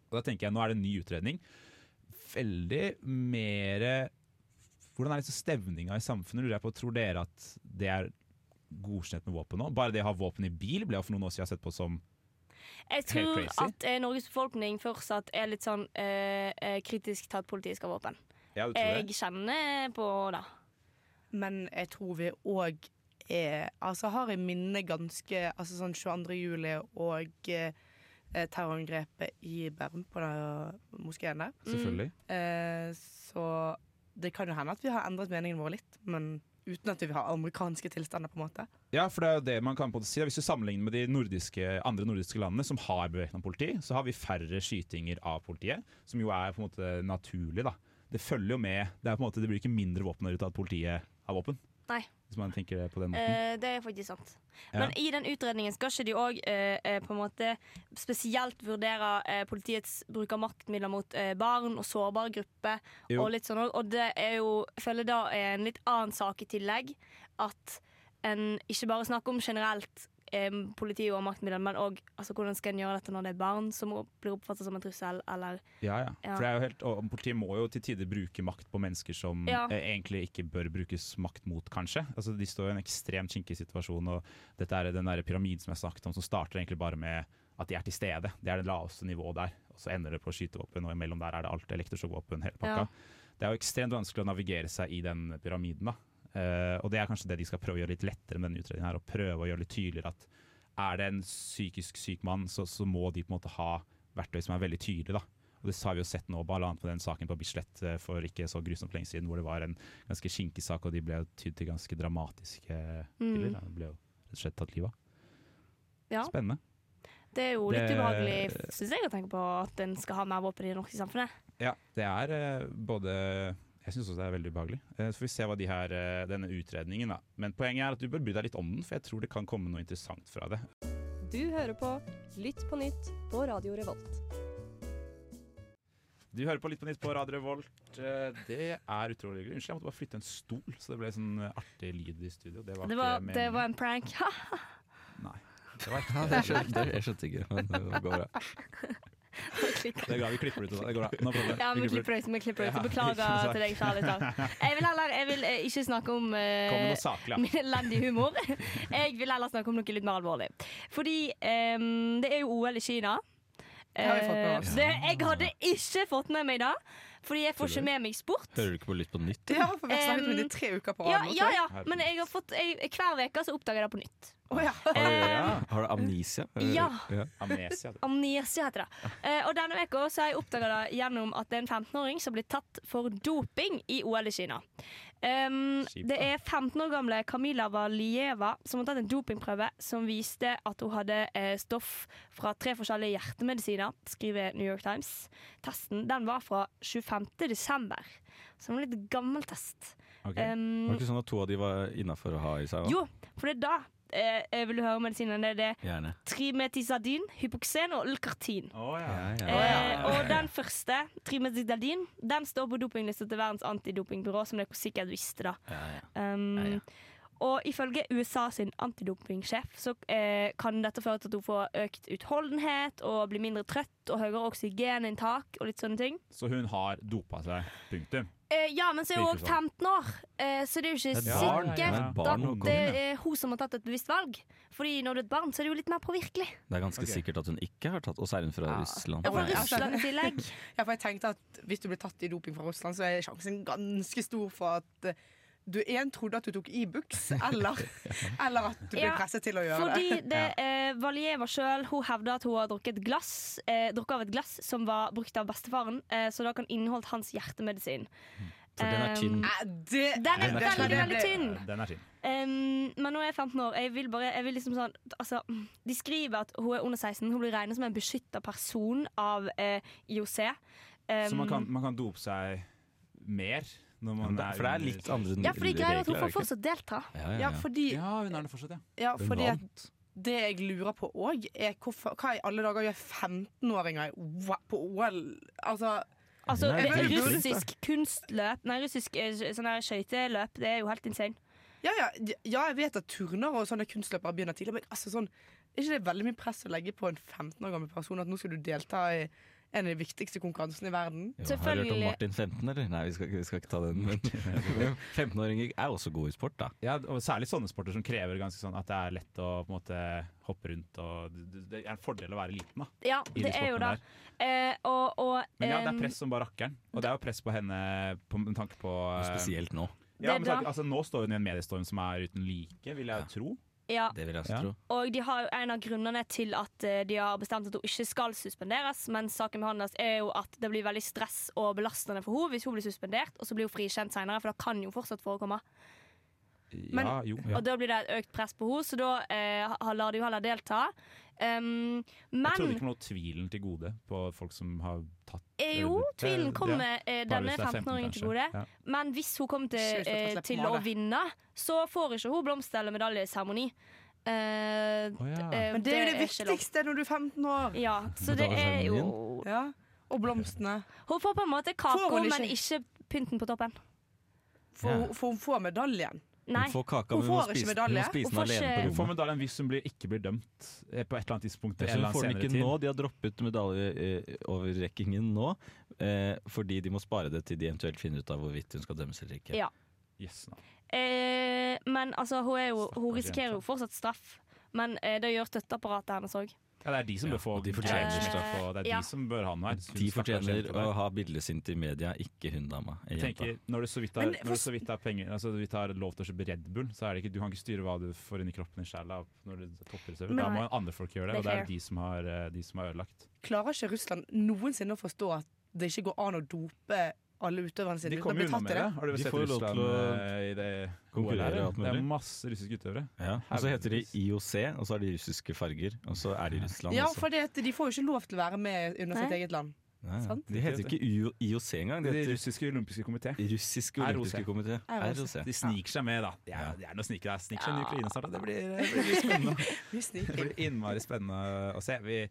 [SPEAKER 5] Og da tenker jeg, nå er det en ny utredning. Veldig mer Hvordan er liksom stemninga i samfunnet? Lurer jeg på, Tror dere at det er godkjent med våpen nå? Bare det å ha våpen i bil ble jo for noen år siden sett på som
[SPEAKER 1] Jeg
[SPEAKER 5] Helt
[SPEAKER 1] tror
[SPEAKER 5] crazy.
[SPEAKER 1] at eh, Norges befolkning fortsatt er litt sånn eh, eh, kritisk til at politiet skal ha våpen.
[SPEAKER 5] Ja, du tror
[SPEAKER 1] Jeg kjenner på det.
[SPEAKER 7] Eh, Men jeg tror vi òg er Altså har i minne ganske Altså sånn 22. juli og eh, terrorangrepet i Bærum på den moskeen der.
[SPEAKER 1] mm.
[SPEAKER 5] Selvfølgelig.
[SPEAKER 7] Eh, så det kan jo hende at vi har endret meningen vår litt, men uten at vi har amerikanske tilstander, på en måte.
[SPEAKER 5] Ja, for det er jo det man kan på en måte si. da. Hvis du sammenligner med de nordiske, andre nordiske landene som har bevæpna politi, så har vi færre skytinger av politiet, som jo er på en måte naturlig, da. Det følger jo med. Det, er på en måte, det blir ikke mindre våpen ut av at politiet har våpen.
[SPEAKER 1] Nei.
[SPEAKER 5] Hvis man tenker det på den måten.
[SPEAKER 1] Eh, det er faktisk sant.
[SPEAKER 5] Mhm. Ja.
[SPEAKER 1] Men i den utredningen skal ikke de òg eh, eh, på en måte spesielt vurdere eh, politiets bruk av maktmidler mot eh, barn og sårbare grupper.
[SPEAKER 5] Jo.
[SPEAKER 1] Og litt sånn også. Og det er jo, jeg føler da er en litt annen sak i tillegg. At en ikke bare snakker om generelt eh, politi og maktmidler, men òg altså, hvordan skal en gjøre dette når det er barn som blir oppfattet som en trussel, eller
[SPEAKER 5] Ja, ja.
[SPEAKER 1] Ja.
[SPEAKER 5] For det er jo helt, og Politiet må jo til tider bruke makt på mennesker som
[SPEAKER 1] Ja.
[SPEAKER 5] eh, egentlig ikke bør brukes makt mot, kanskje. Altså, De står i en ekstremt kinkig situasjon, og dette er den der pyramiden som jeg snakket om, som starter egentlig bare med at de er til stede. Det er det laveste nivået der. Og så ender det på skytevåpen, og imellom der er det alt elektrosjokkvåpen, hele pakka.
[SPEAKER 1] Ja.
[SPEAKER 5] Det er jo ekstremt vanskelig å navigere seg i den pyramiden, da. Eh, og det er kanskje det de skal prøve å gjøre litt lettere med denne utredningen her, og prøve å gjøre litt tydeligere at er det en psykisk syk mann, så, så må de på en måte ha verktøy som er veldig tydelige, da. Og Det har vi jo sett nå, bl.a. på den saken på Bislett eh, for ikke så grusomt lenge siden, hvor det var en ganske skinkig sak, og de ble jo tydd til ganske dramatiske
[SPEAKER 1] hmm,
[SPEAKER 5] bilder. da. De ble jo rett og slett tatt livet av.
[SPEAKER 1] Mm. Ja.
[SPEAKER 5] Spennende.
[SPEAKER 1] Det er jo litt
[SPEAKER 5] Det-
[SPEAKER 1] ubehagelig, syns jeg, å tenke på at en skal ha mer våpen i det norske samfunnet.
[SPEAKER 5] Ja, det er eh, både Jeg syns også det er veldig ubehagelig. Eh, Så får vi se hva de her, eh, denne utredningen da. Men poenget er at du bør bry deg litt om den, for jeg tror det kan komme noe interessant fra det.
[SPEAKER 9] Du hører på Lytt på nytt på Radio Revolt.
[SPEAKER 5] Du hører på Litt på nytt på Radio Revolt. Eh, Det er utrolig hyggelig. Unnskyld, jeg måtte bare flytte en stol, så det ble sånn eh, artig lyd i studio. Det var,
[SPEAKER 1] Det var,
[SPEAKER 5] ikke
[SPEAKER 1] det
[SPEAKER 5] meningen.
[SPEAKER 1] var en prank. Ha!
[SPEAKER 5] Det var
[SPEAKER 6] Ja, det skjønte, jeg skjønte ikke, men det går bra.
[SPEAKER 5] Det er bra, vi klipper det ut. Det går bra. No problem.
[SPEAKER 1] Ja,
[SPEAKER 5] Vi
[SPEAKER 1] vi
[SPEAKER 5] klipper det ut.
[SPEAKER 1] klipper det ut. vi klipper det ut.
[SPEAKER 5] Ja, ikke
[SPEAKER 1] Beklager
[SPEAKER 5] sant.
[SPEAKER 1] til deg, kjærlig talt. Jeg vil heller jeg vil, eh, ikke snakke om eh,
[SPEAKER 5] Kom med noe saklig. da.
[SPEAKER 1] min elendig humor. Jeg vil heller snakke om noe litt mer alvorlig. Fordi ehm, det er jo OL i Kina.
[SPEAKER 7] Det har vi fått med oss.
[SPEAKER 1] Eh, det- jeg hadde ikke fått med meg det, fordi jeg får ikke med meg sport.
[SPEAKER 6] Hører du ikke på Lytt på nytt?
[SPEAKER 7] Ja, for vi har snakket med de tre uker på
[SPEAKER 1] Ja,
[SPEAKER 7] rad nå,
[SPEAKER 1] ja,
[SPEAKER 7] tror jeg.
[SPEAKER 1] ja, men jeg har fått, jeg, hver uke så oppdager jeg det på nytt.
[SPEAKER 7] Å, ja.
[SPEAKER 6] Har du, har du amnesia?
[SPEAKER 1] Ja.
[SPEAKER 5] Amnesia. det.
[SPEAKER 1] Amnesia heter det. Eh, og denne uka så har jeg oppdaga det gjennom at det er en 15-åring som blir tatt for doping i OL i Kina. Um,
[SPEAKER 5] Kjipt,
[SPEAKER 1] det
[SPEAKER 5] da.
[SPEAKER 1] er 15 år gamle Kamila Valieva som har tatt en dopingprøve som viste at hun hadde eh, stoff fra tre forskjellige hjertemedisiner, skriver New York Times. Testen den var fra 25. desember, så det var en litt gammel test.
[SPEAKER 5] Ok.
[SPEAKER 1] Um,
[SPEAKER 6] Var det ikke sånn at to av de var innafor å ha i seg? også?
[SPEAKER 1] jo, for det er da eh, jeg vil du høre om medisinene. Det er det
[SPEAKER 6] Gjerne.
[SPEAKER 1] trimetizadin, hypoksen og ulkartin.
[SPEAKER 5] Å, ja.
[SPEAKER 6] Ja, ja.
[SPEAKER 1] Eh, og den første, Trimethydalin, den står på dopinglista til Verdens antidopingbyrå, som dere sikkert visste, da. Um,
[SPEAKER 6] Ja, ja.
[SPEAKER 1] Og ifølge USA sin antidopingsjef så eh, kan dette føre til at hun får økt utholdenhet og blir mindre trøtt og høyere oksygeninntak og litt sånne ting.
[SPEAKER 5] Så hun har dopa seg. Punktum.
[SPEAKER 1] Eh, ja, men så er hun òg
[SPEAKER 5] Virker sånn.
[SPEAKER 1] 15 år, eh, så det er jo ikke
[SPEAKER 6] Det er et barn.
[SPEAKER 1] sikkert
[SPEAKER 6] Det er et barn hun
[SPEAKER 1] at
[SPEAKER 6] kom
[SPEAKER 1] det
[SPEAKER 6] inn,
[SPEAKER 1] er hun som har tatt et bevisst valg. Fordi når du er et barn, så er det jo litt mer påvirkelig.
[SPEAKER 6] Det er ganske
[SPEAKER 5] Ok.
[SPEAKER 6] sikkert at hun ikke har tatt Og så er hun fra Russland.
[SPEAKER 1] Ja, fra
[SPEAKER 6] Nei.
[SPEAKER 1] Russland i tillegg.
[SPEAKER 7] Ja, for jeg tenkte at hvis du blir tatt i doping fra Russland, så er sjansen ganske stor for at eh, du én trodde at du tok Ibux, eller, eller at du blir
[SPEAKER 1] Ja,
[SPEAKER 7] presset til å gjøre det.
[SPEAKER 1] Fordi det eh, Valieva sjøl hevder at hun har drukket, glass, eh, drukket av et glass som var brukt av bestefaren, eh, så da kan inneholdt hans hjertemedisin.
[SPEAKER 6] For den er
[SPEAKER 1] Eh,
[SPEAKER 6] tynn.
[SPEAKER 7] Nei, det,
[SPEAKER 1] Den er
[SPEAKER 5] Den er
[SPEAKER 1] veldig,
[SPEAKER 5] tynn.
[SPEAKER 1] veldig tynn!
[SPEAKER 5] Eh, Den er sin.
[SPEAKER 1] Um, men nå er jeg 15 år. Jeg vil bare, jeg vil liksom sånn altså, De skriver at hun er under 16. Hun blir regnet som en beskytta person av eh, IOC. Um,
[SPEAKER 5] Så man kan, man kan dope seg mer når man er
[SPEAKER 6] For det er
[SPEAKER 5] under-
[SPEAKER 6] litt andre
[SPEAKER 1] Ja, for de greier at hun får
[SPEAKER 6] regler, er det ikke?
[SPEAKER 1] fortsatt delta.
[SPEAKER 6] Ja, ja,
[SPEAKER 7] Ja,
[SPEAKER 6] ja.
[SPEAKER 7] fordi,
[SPEAKER 5] Ja, hun er det fortsatt, ja.
[SPEAKER 7] ja,
[SPEAKER 6] Hun
[SPEAKER 7] fordi at
[SPEAKER 6] vant.
[SPEAKER 7] det jeg lurer på òg, er hvorfor, hva i alle dager gjør 15-åringer i O- på OL? Altså,
[SPEAKER 1] Altså,
[SPEAKER 6] Nei,
[SPEAKER 1] det,
[SPEAKER 7] det er jo
[SPEAKER 1] russisk kunstløp Nei, russisk eh, sånn her skøyteløp, det er jo helt insane.
[SPEAKER 7] ja, ja, ja, jeg vet at turner og sånne kunstløpere begynner tidlig, men altså, sånn, er ikke det veldig mye press å legge på en 15 år gammel person at nå skal du delta i en av de viktigste konkurransene i verden.
[SPEAKER 6] Jo, har du hørt om
[SPEAKER 1] Selvfølgelig.
[SPEAKER 6] Martin 15, eller? Nei, vi skal, ikke- vi skal ikke ta den. Men 15-åringer er også gode i sport, da.
[SPEAKER 5] Ja, og Særlig sånne sporter som krever ganske sånn at det er lett å på en måte hoppe rundt. Og det, det er en fordel å være liten da,
[SPEAKER 1] Ja,
[SPEAKER 5] i de
[SPEAKER 1] det er jo
[SPEAKER 5] sportene
[SPEAKER 1] det.
[SPEAKER 5] der.
[SPEAKER 1] Eh, og, og,
[SPEAKER 5] Men ja, det
[SPEAKER 1] em,
[SPEAKER 5] er press som bare rakkeren. Og det er jo press på henne på, med tanke på
[SPEAKER 6] Og
[SPEAKER 5] eh,
[SPEAKER 6] Spesielt nå.
[SPEAKER 5] ja,
[SPEAKER 1] Det
[SPEAKER 5] med
[SPEAKER 1] da.
[SPEAKER 5] tanke, altså, Nå står hun i en mediestorm som er uten like, vil jeg
[SPEAKER 6] Ja.
[SPEAKER 5] tro.
[SPEAKER 1] ja,
[SPEAKER 6] Det vil jeg også
[SPEAKER 5] Ja.
[SPEAKER 6] tro.
[SPEAKER 1] og de har jo en av grunnene til at eh, de har bestemt at hun ikke skal suspenderes, men saken behandles, er jo at det blir veldig stress og belastende for henne hvis hun blir suspendert, og så blir hun frikjent senere, for det kan jo fortsatt forekomme. Men-
[SPEAKER 5] ja, jo. Ja.
[SPEAKER 1] Og da blir det et økt press på henne, så da eh, ha- lar de jo heller delta. Um,
[SPEAKER 5] Jeg trodde
[SPEAKER 1] men
[SPEAKER 5] ikke noe tvilen til gode på folk som har tatt
[SPEAKER 1] eh, jo, tvilen
[SPEAKER 5] Det- det-
[SPEAKER 1] kommer eh,
[SPEAKER 5] bare
[SPEAKER 1] denne
[SPEAKER 5] hvis det er 15,
[SPEAKER 1] 15-åringen til
[SPEAKER 5] kanskje.
[SPEAKER 1] gode.
[SPEAKER 5] Ja.
[SPEAKER 1] Men hvis hun kommer til,
[SPEAKER 7] Slutt å
[SPEAKER 1] eh,
[SPEAKER 7] slippe
[SPEAKER 1] til å
[SPEAKER 7] male.
[SPEAKER 1] vinne, så får ikke hun blomst- eller medaljeseremoni. Eh,
[SPEAKER 5] Å, ja.
[SPEAKER 1] eh,
[SPEAKER 7] Men det er jo det
[SPEAKER 1] er ikke lov.
[SPEAKER 7] viktigste når du er 15 år.
[SPEAKER 1] Ja, så det er jo
[SPEAKER 7] Ja. Og blomstene.
[SPEAKER 1] Hun får på en måte
[SPEAKER 7] Får
[SPEAKER 1] kaka,
[SPEAKER 7] hun
[SPEAKER 1] men
[SPEAKER 7] ikke?
[SPEAKER 1] ikke pynten på toppen.
[SPEAKER 7] For, hun- for hun får medaljen.
[SPEAKER 1] Nei.
[SPEAKER 6] Hun får kaka,
[SPEAKER 7] Hun
[SPEAKER 6] men hun må
[SPEAKER 7] får ikke
[SPEAKER 6] spise, hun må
[SPEAKER 7] medalje.
[SPEAKER 6] spise
[SPEAKER 1] Hun
[SPEAKER 6] den
[SPEAKER 1] får ikke-
[SPEAKER 6] alene
[SPEAKER 5] Hun
[SPEAKER 6] på
[SPEAKER 5] får
[SPEAKER 6] rommet.
[SPEAKER 5] medaljen hvis hun blir, ikke blir dømt eh, på et eller annet tidspunkt.
[SPEAKER 6] Så
[SPEAKER 5] eller
[SPEAKER 6] hun
[SPEAKER 5] annen
[SPEAKER 6] sånn, får den
[SPEAKER 5] senere
[SPEAKER 6] ikke
[SPEAKER 5] tid.
[SPEAKER 6] nå. De har droppet medaljeoverrekkingen nå, eh, fordi de må spare det til de eventuelt finner ut av hvorvidt hun skal dømmes eller ikke.
[SPEAKER 1] Ja.
[SPEAKER 5] Yes, nei.
[SPEAKER 1] Eh, men altså, hun, er jo, hun
[SPEAKER 5] Stakkars
[SPEAKER 1] risikerer jo
[SPEAKER 5] jente.
[SPEAKER 1] fortsatt straff. Men eh, det gjør støtteapparatet hennes òg.
[SPEAKER 5] ja, det er de som
[SPEAKER 6] Ja,
[SPEAKER 5] bør få
[SPEAKER 6] og de fortjener
[SPEAKER 5] greier
[SPEAKER 1] straff.
[SPEAKER 5] straff, og det er
[SPEAKER 1] Ja.
[SPEAKER 5] de som bør ha noe her. Hun
[SPEAKER 6] De
[SPEAKER 5] stakkars
[SPEAKER 6] fortjener
[SPEAKER 5] jente der.
[SPEAKER 6] å ha bildet sitt i media, ikke hun dama.
[SPEAKER 5] Jeg
[SPEAKER 6] jenta.
[SPEAKER 5] tenker, når du så vidt har,
[SPEAKER 7] Men
[SPEAKER 5] når du så vidt har penger Altså vi tar lov til å kjøpe Red Bull, så er det ikke, du kan ikke styre hva du får inn i kroppen i sjela når du topper server. Da
[SPEAKER 1] Nei.
[SPEAKER 5] må andre folk gjøre det,
[SPEAKER 1] Det
[SPEAKER 5] og
[SPEAKER 1] er
[SPEAKER 5] det er de som har, eh, de som har ødelagt.
[SPEAKER 7] Klarer ikke Russland noensinne å forstå at det ikke går an å dope alle utøverne sine
[SPEAKER 5] De
[SPEAKER 7] uten å
[SPEAKER 5] kommer
[SPEAKER 7] bli
[SPEAKER 5] jo unna
[SPEAKER 7] tatt
[SPEAKER 5] med
[SPEAKER 7] i
[SPEAKER 5] det.
[SPEAKER 7] det?
[SPEAKER 5] Har du
[SPEAKER 6] De
[SPEAKER 5] sett
[SPEAKER 6] får jo lov til
[SPEAKER 5] Russland
[SPEAKER 6] å
[SPEAKER 5] eh, i det
[SPEAKER 6] konkurrere
[SPEAKER 5] OL-et?
[SPEAKER 6] og alt
[SPEAKER 5] Det
[SPEAKER 6] mulig.
[SPEAKER 5] er masse russiske utøvere.
[SPEAKER 6] Ja. Og så heter de IOC, og så har de russiske farger, og så er de i Russland
[SPEAKER 7] Ja,
[SPEAKER 6] Sånn også.
[SPEAKER 7] for det, at de får jo ikke lov til å være med under sitt
[SPEAKER 1] Nei.
[SPEAKER 7] eget land.
[SPEAKER 6] Ja, ja.
[SPEAKER 7] sant?
[SPEAKER 6] De heter ikke UO IOC engang, de
[SPEAKER 5] Det
[SPEAKER 6] heter
[SPEAKER 5] russiske olympiske komité.
[SPEAKER 6] Russiske
[SPEAKER 5] ROC.
[SPEAKER 6] olympiske komité. ROC.
[SPEAKER 5] De sniker seg med, da. Det
[SPEAKER 6] Ja.
[SPEAKER 5] er, det er noe sniker der. Sniker seg inn i Ukraina snart. og Det blir, eh, det blir spennende.
[SPEAKER 7] Vi sniker.
[SPEAKER 5] Det blir innmari spennende å se. Vi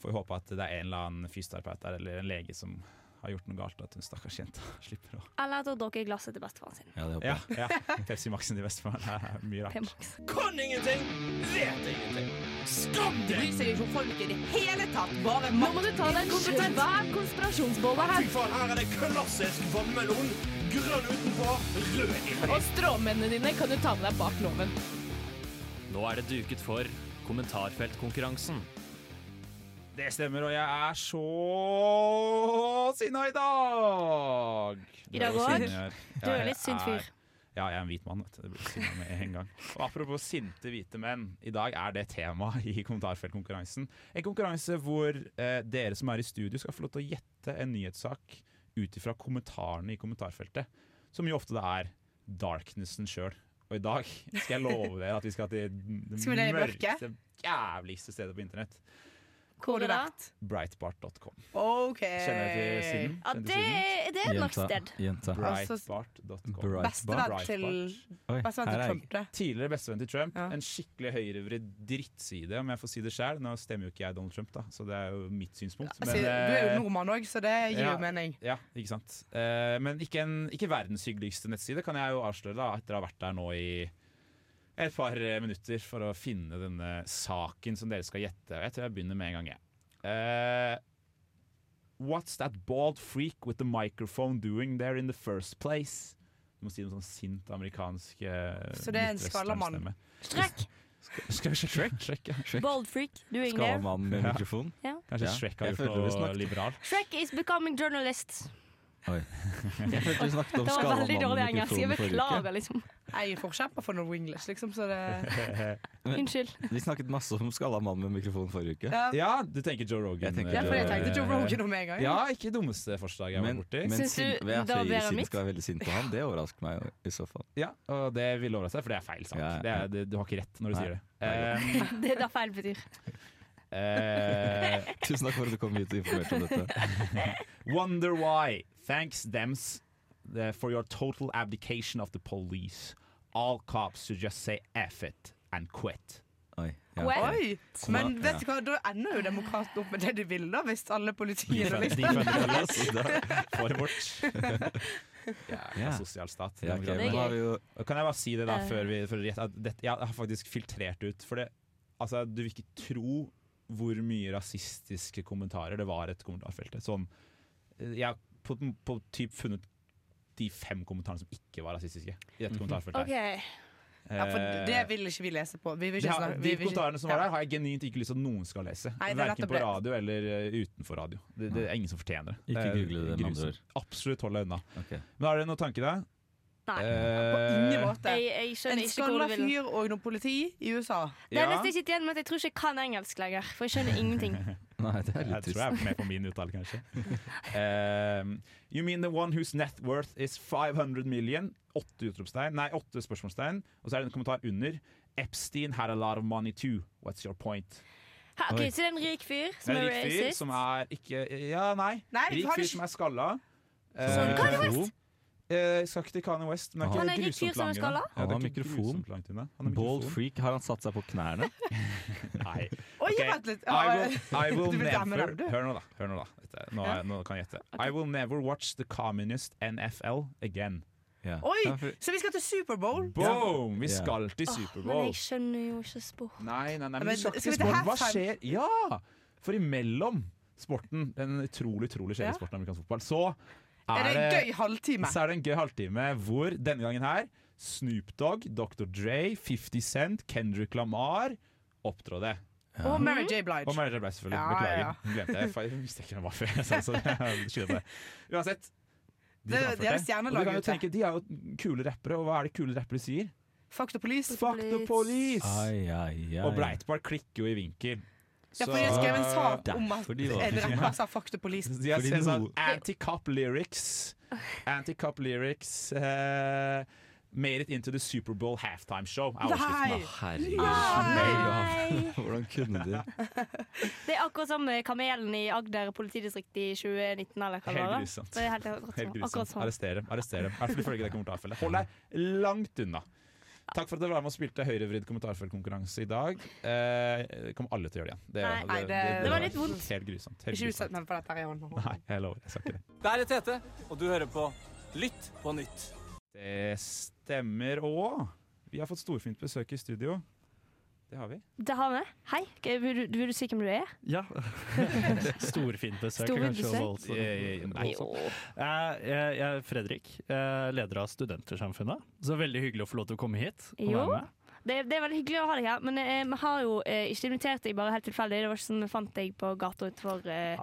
[SPEAKER 5] får håpe at det er en eller annen fysioterapeut der, eller en lege som har gjort noe galt, at hun stakkars jenta slipper å
[SPEAKER 1] Eller at hun drukker glasset til bestefaren sin.
[SPEAKER 6] Ja, det håper
[SPEAKER 5] Ja,
[SPEAKER 6] jeg.
[SPEAKER 5] ja. Pepsi Max-en i Vestfold. Det er mye rart.
[SPEAKER 1] P-max.
[SPEAKER 4] Kan ingenting, vet ingenting. Skam deg!
[SPEAKER 8] Bryr seg ikke om folk i det hele tatt. Bare
[SPEAKER 9] Nå må du ta deg en kompetent Hva er konspirasjonsbolla
[SPEAKER 4] Fy
[SPEAKER 9] her?
[SPEAKER 4] faen, her er det klassisk vannmelon. Grønn utenpå, rød inni.
[SPEAKER 9] Og stråmennene dine kan du ta med deg bak loven.
[SPEAKER 4] Nå er det duket for kommentarfeltkonkurransen.
[SPEAKER 5] Det stemmer, og jeg er så sinna i dag!
[SPEAKER 1] I dag
[SPEAKER 5] Det er
[SPEAKER 1] også?
[SPEAKER 5] sinne jeg er.
[SPEAKER 1] Du er
[SPEAKER 5] Jeg
[SPEAKER 1] jo litt sint fyr.
[SPEAKER 5] er- Ja, jeg er en hvit mann. vet du. Det blir sinna med en gang. Og Apropos sinte hvite menn. I dag er det tema i kommentarfeltkonkurransen. En konkurranse hvor eh, dere som er i studio skal få lov til å gjette en nyhetssak ut ifra kommentarene i kommentarfeltet. Som jo ofte det er darknessen sjøl. Og i dag skal jeg love dere at vi skal til det
[SPEAKER 7] Skal vi ned i mørket?
[SPEAKER 5] mørkeste, jævligste stedet på internett.
[SPEAKER 1] Hvor da?
[SPEAKER 5] Breitbart.com. Kjenner
[SPEAKER 7] OK.
[SPEAKER 5] jeg
[SPEAKER 7] Eh,
[SPEAKER 5] til siden?
[SPEAKER 1] Ja,
[SPEAKER 5] Kjenner til
[SPEAKER 1] det, det
[SPEAKER 5] siden?
[SPEAKER 1] er et mørkt
[SPEAKER 6] Jenta.
[SPEAKER 1] sted.
[SPEAKER 6] Jenta.
[SPEAKER 7] Altså
[SPEAKER 5] Breitbart.com.
[SPEAKER 6] Breitbart.
[SPEAKER 7] Bestevenn til,
[SPEAKER 6] Oi,
[SPEAKER 7] bestevenn
[SPEAKER 6] her
[SPEAKER 7] til
[SPEAKER 6] er
[SPEAKER 7] Trump, det.
[SPEAKER 5] Tidligere bestevenn til Trump.
[SPEAKER 7] Ja.
[SPEAKER 5] En skikkelig høyrevridd drittside, om jeg får si det sjøl. Nå stemmer jo ikke jeg Donald Trump, da, så det er jo mitt synspunkt.
[SPEAKER 7] Altså, du er jo
[SPEAKER 5] eh,
[SPEAKER 7] nordmann òg, så det gir
[SPEAKER 5] ja.
[SPEAKER 7] jo mening.
[SPEAKER 5] ja, ikke sant. Eh, men ikke, en, ikke verdens hyggeligste nettside, kan jeg jo avsløre, da, etter å ha vært der nå i et par eh, minutter for å finne denne saken som dere skal gjette. Jeg tror jeg begynner med en gang, jeg. Eh, what's that bald freak with the microphone doing there in the first place? Du må si noe sånn sint amerikansk eh,
[SPEAKER 7] Så det er
[SPEAKER 5] midtwesternstemme.
[SPEAKER 7] en skalamann.
[SPEAKER 1] Shrek,
[SPEAKER 5] Skal vi sjekke Shrek? ja.
[SPEAKER 1] bold freak, doing
[SPEAKER 6] Skala
[SPEAKER 1] there.
[SPEAKER 6] mann med mikrofon.
[SPEAKER 5] Kanskje
[SPEAKER 6] Ja,
[SPEAKER 5] Shrek har
[SPEAKER 6] jeg føler vi
[SPEAKER 5] gjort noe
[SPEAKER 6] snakket.
[SPEAKER 5] liberalt?
[SPEAKER 1] Shrek is becoming journalist.
[SPEAKER 6] Jeg følte du snakket om
[SPEAKER 1] Det var veldig
[SPEAKER 6] skalamann
[SPEAKER 1] dårlig
[SPEAKER 6] med
[SPEAKER 1] engelsk. Jeg
[SPEAKER 6] mikrofon forrige uke.
[SPEAKER 1] beklager, liksom.
[SPEAKER 7] Jeg er forkjemper for noe English, liksom, så det
[SPEAKER 1] Unnskyld.
[SPEAKER 6] Vi snakket masse om skalamann med mikrofon forrige uke.
[SPEAKER 7] Ja,
[SPEAKER 5] Ja, du tenker Joe Rogan.
[SPEAKER 6] Jeg tenker
[SPEAKER 7] ja for jeg
[SPEAKER 6] eh,
[SPEAKER 7] tenkte Joe Rogan om en gang.
[SPEAKER 5] Ja, ikke dummeste forslaget jeg har vært borti.
[SPEAKER 1] Syns du
[SPEAKER 6] sint- jeg
[SPEAKER 1] det var
[SPEAKER 6] sier
[SPEAKER 1] bedre enn
[SPEAKER 6] siden
[SPEAKER 1] mitt?
[SPEAKER 6] skal være veldig sint på han, det overrasker meg jo i så fall.
[SPEAKER 5] Ja, og det vil overraske deg, for det er feil sak.
[SPEAKER 6] Ja, ja.
[SPEAKER 5] Det er, det, du har ikke rett når du
[SPEAKER 6] Nei.
[SPEAKER 5] sier det.
[SPEAKER 1] Det er det feil betyr.
[SPEAKER 5] Eh, eh,
[SPEAKER 6] Tusen takk for at du kom hit og informerte om dette.
[SPEAKER 5] wonder why. Thanks thems the- for your total abdication of the police. All cops should just say F it and quit.
[SPEAKER 6] Oi, ja.
[SPEAKER 1] Well.
[SPEAKER 7] Oi! Men
[SPEAKER 6] Ja.
[SPEAKER 7] vet du hva, da ender jo demokratene opp med det de vil, da, hvis alle politiene
[SPEAKER 5] Defund-
[SPEAKER 7] liksom
[SPEAKER 5] defund the police. Får det bort. Ja,
[SPEAKER 6] Ja.
[SPEAKER 5] sosial stat.
[SPEAKER 6] Ja,
[SPEAKER 5] demokrati.
[SPEAKER 6] ok,
[SPEAKER 1] Det er
[SPEAKER 6] men har vi jo
[SPEAKER 5] Og Kan jeg bare si det da
[SPEAKER 1] Eh.
[SPEAKER 5] før vi før vi- at dette, Jeg har faktisk filtrert ut For det, altså, du vil ikke tro hvor mye rasistiske kommentarer det var etter kommentarfeltet. Sånn, eh, jeg har på, på typ funnet de fem kommentarene som ikke var rasistiske. I
[SPEAKER 6] Mhm.
[SPEAKER 5] dette kommentarfeltet
[SPEAKER 1] OK.
[SPEAKER 5] her.
[SPEAKER 7] Ja, for det
[SPEAKER 5] Eh,
[SPEAKER 7] vil ikke vi lese på. Vi vil
[SPEAKER 5] det
[SPEAKER 7] ikke
[SPEAKER 5] har,
[SPEAKER 7] snakke, vi
[SPEAKER 5] de
[SPEAKER 7] vil ikke-
[SPEAKER 5] kommentarene som var
[SPEAKER 7] Ja.
[SPEAKER 5] der, har jeg genuint ikke lyst til at noen skal lese.
[SPEAKER 7] Nei, det er
[SPEAKER 5] Verken
[SPEAKER 7] nettopp
[SPEAKER 5] på
[SPEAKER 7] det.
[SPEAKER 5] radio eller eh, utenfor radio. Det, det er ingen som fortjener det. Det
[SPEAKER 6] Ikke
[SPEAKER 5] er
[SPEAKER 6] google det, med andre
[SPEAKER 5] grusomt. Absolutt hold deg unna.
[SPEAKER 6] Ok.
[SPEAKER 5] Men har dere noen tanker Eh, der?
[SPEAKER 1] Nei.
[SPEAKER 7] På ingen måte.
[SPEAKER 1] Jeg, jeg
[SPEAKER 7] En
[SPEAKER 1] skjønner ikke hvor
[SPEAKER 7] skalla
[SPEAKER 1] du vil.
[SPEAKER 7] fyr og noe politi i USA.
[SPEAKER 1] Det er nesten jeg sitter igjen med at jeg tror ikke jeg kan engelsk lenger, for jeg skjønner ingenting.
[SPEAKER 6] Nei, det er
[SPEAKER 5] Jeg tror
[SPEAKER 6] litt
[SPEAKER 5] jeg
[SPEAKER 6] trist.
[SPEAKER 5] er med på min uttale, kanskje. Um, you mean the one whose net worth is 500 million? Åtte utropstegn, nei, åtte spørsmålstegn. Og så er det en kommentar under. Epstein had a lot of money too. What's your point?
[SPEAKER 1] Ha, ok,
[SPEAKER 6] Oi.
[SPEAKER 1] så det er en rik fyr
[SPEAKER 5] Det
[SPEAKER 1] som er
[SPEAKER 5] er en rik fyr
[SPEAKER 1] racist.
[SPEAKER 5] som er ikke Ja, nei.
[SPEAKER 7] Nei,
[SPEAKER 5] Rik
[SPEAKER 7] har du
[SPEAKER 5] fyr
[SPEAKER 7] ikke-
[SPEAKER 5] som er skalla.
[SPEAKER 6] Sånn,
[SPEAKER 5] Eh,
[SPEAKER 6] Kanye
[SPEAKER 5] mikrofon. Eh, skal ikke til Kanye West, men det
[SPEAKER 1] Han
[SPEAKER 5] er
[SPEAKER 1] er en
[SPEAKER 5] ikke
[SPEAKER 1] rik fyr
[SPEAKER 5] grusomt
[SPEAKER 1] som er
[SPEAKER 5] langt unna.
[SPEAKER 1] skalla?
[SPEAKER 5] Ja, det er
[SPEAKER 6] Han har
[SPEAKER 5] ikke
[SPEAKER 6] mikrofon.
[SPEAKER 5] grusomt langt unna. Han har
[SPEAKER 6] Bold
[SPEAKER 5] mikrofon.
[SPEAKER 6] freak, har han satt seg på knærne?
[SPEAKER 5] Nei.
[SPEAKER 7] Oi,
[SPEAKER 5] Ok.
[SPEAKER 7] vent litt.
[SPEAKER 5] I will, I will
[SPEAKER 7] Du vil være med
[SPEAKER 5] never
[SPEAKER 7] dem, du.
[SPEAKER 5] Hør nå, da. Hør nå, da. Dette, nå, er, nå kan jeg gjette. I will never watch the communist NFL again.
[SPEAKER 6] Ja.
[SPEAKER 7] eh, Oi,
[SPEAKER 6] Ja, for-
[SPEAKER 7] så vi skal til Superbowl?
[SPEAKER 5] Boom! Vi
[SPEAKER 6] Ja.
[SPEAKER 5] skal til
[SPEAKER 1] Åh, men
[SPEAKER 5] Superbowl.
[SPEAKER 1] jeg skjønner jo ikke sport.
[SPEAKER 5] Nei, nei, nei, men
[SPEAKER 7] Men
[SPEAKER 5] du skal ikke
[SPEAKER 7] skal vi
[SPEAKER 5] til sport.
[SPEAKER 7] til
[SPEAKER 5] Hva skjer?
[SPEAKER 7] halftime?
[SPEAKER 5] Ja! For imellom sporten, den utrolig, utrolig
[SPEAKER 7] Ja.
[SPEAKER 5] kjedelige sporten amerikansk fotball, så
[SPEAKER 7] Er
[SPEAKER 5] er
[SPEAKER 7] det en
[SPEAKER 5] det
[SPEAKER 7] gøy halvtime?
[SPEAKER 5] så er det en gøy halvtime hvor denne gangen her Snoop Dogg, Dr. Dre, 50 Cent, Kendrick Lamar opptrådte.
[SPEAKER 7] Og Mary J.
[SPEAKER 5] Og
[SPEAKER 7] Blige.
[SPEAKER 5] Mary J. Blige, selvfølgelig.
[SPEAKER 7] Ja,
[SPEAKER 5] Beklager.
[SPEAKER 7] ja,
[SPEAKER 5] Hun Glemte jeg. Fa- Jeg visste ikke hvem var før jeg sa det, så jeg skylder på det. Uansett. De
[SPEAKER 7] Det-
[SPEAKER 5] framførte.
[SPEAKER 7] det er
[SPEAKER 5] og
[SPEAKER 7] stjernelaget
[SPEAKER 5] du kan jo
[SPEAKER 7] ute.
[SPEAKER 5] tenke, de er jo kule rappere, og hva er det kule rappere sier?
[SPEAKER 7] Fuck the police.
[SPEAKER 5] Fuck the police!
[SPEAKER 6] Ai, ai, ai.
[SPEAKER 5] Og Breitbart klikker jo i vinkel.
[SPEAKER 7] Ja, for jeg skrev en sak om at
[SPEAKER 6] Derfor de var-
[SPEAKER 7] en rapper sa fuck the police.
[SPEAKER 5] De har
[SPEAKER 6] Fordi
[SPEAKER 5] sett sånn
[SPEAKER 6] noe-
[SPEAKER 5] anti-cop lyrics. Anti-cop lyrics eh, Made it into the Superbowl halftime show. Er overskriften,
[SPEAKER 7] Nei!
[SPEAKER 5] da.
[SPEAKER 6] Herregud.
[SPEAKER 1] Nei.
[SPEAKER 6] Hvordan kunne de?
[SPEAKER 1] Det er akkurat som eh, kamelen i Agder politidistrikt i 2019, eller hva det var.
[SPEAKER 5] Helt
[SPEAKER 1] da.
[SPEAKER 5] grusomt.
[SPEAKER 1] Det er helt, akkurat
[SPEAKER 5] Helt
[SPEAKER 1] sånn. Akkurat
[SPEAKER 5] grusomt.
[SPEAKER 1] sånn.
[SPEAKER 5] Arrester dem. Arrester dem. I hvert fall ifølge det kommentarfeltet. Hold deg langt unna. Takk for at dere var med og spilte høyrevridd kommentarfeltkonkurranse i dag. Eh, kommer alle til å gjøre det igjen. Det,
[SPEAKER 1] Nei,
[SPEAKER 7] nei, det-
[SPEAKER 1] det var litt vondt.
[SPEAKER 5] Helt grusomt. Helt
[SPEAKER 7] Ikke utsett
[SPEAKER 5] grusomt.
[SPEAKER 7] meg for dette her i hånden.
[SPEAKER 5] Nei, jeg lover. Jeg skal ikke det.
[SPEAKER 4] Der er Tete, og du hører på Lytt på nytt.
[SPEAKER 5] Det stemmer òg. Vi har fått storfint besøk i studio. Det har vi.
[SPEAKER 1] Det har vi. Hei, ok, vil du, vil du si hvem du er?
[SPEAKER 10] Ja. Storfint besøk.
[SPEAKER 1] Storfint
[SPEAKER 10] kanskje,
[SPEAKER 1] besøk.
[SPEAKER 10] voldsomt.
[SPEAKER 5] Eh, nei.
[SPEAKER 1] Jo.
[SPEAKER 10] Eh, Jeg jeg er Fredrik, eh, leder av Studentersamfunnet. Så veldig hyggelig å få lov til å komme hit. Og
[SPEAKER 1] Jo.
[SPEAKER 10] være med.
[SPEAKER 1] Det, det er veldig hyggelig å ha deg her, men eh, vi har jo eh, ikke invitert deg bare helt tilfeldig. Det var ikke sånn vi fant deg på gata utenfor eh,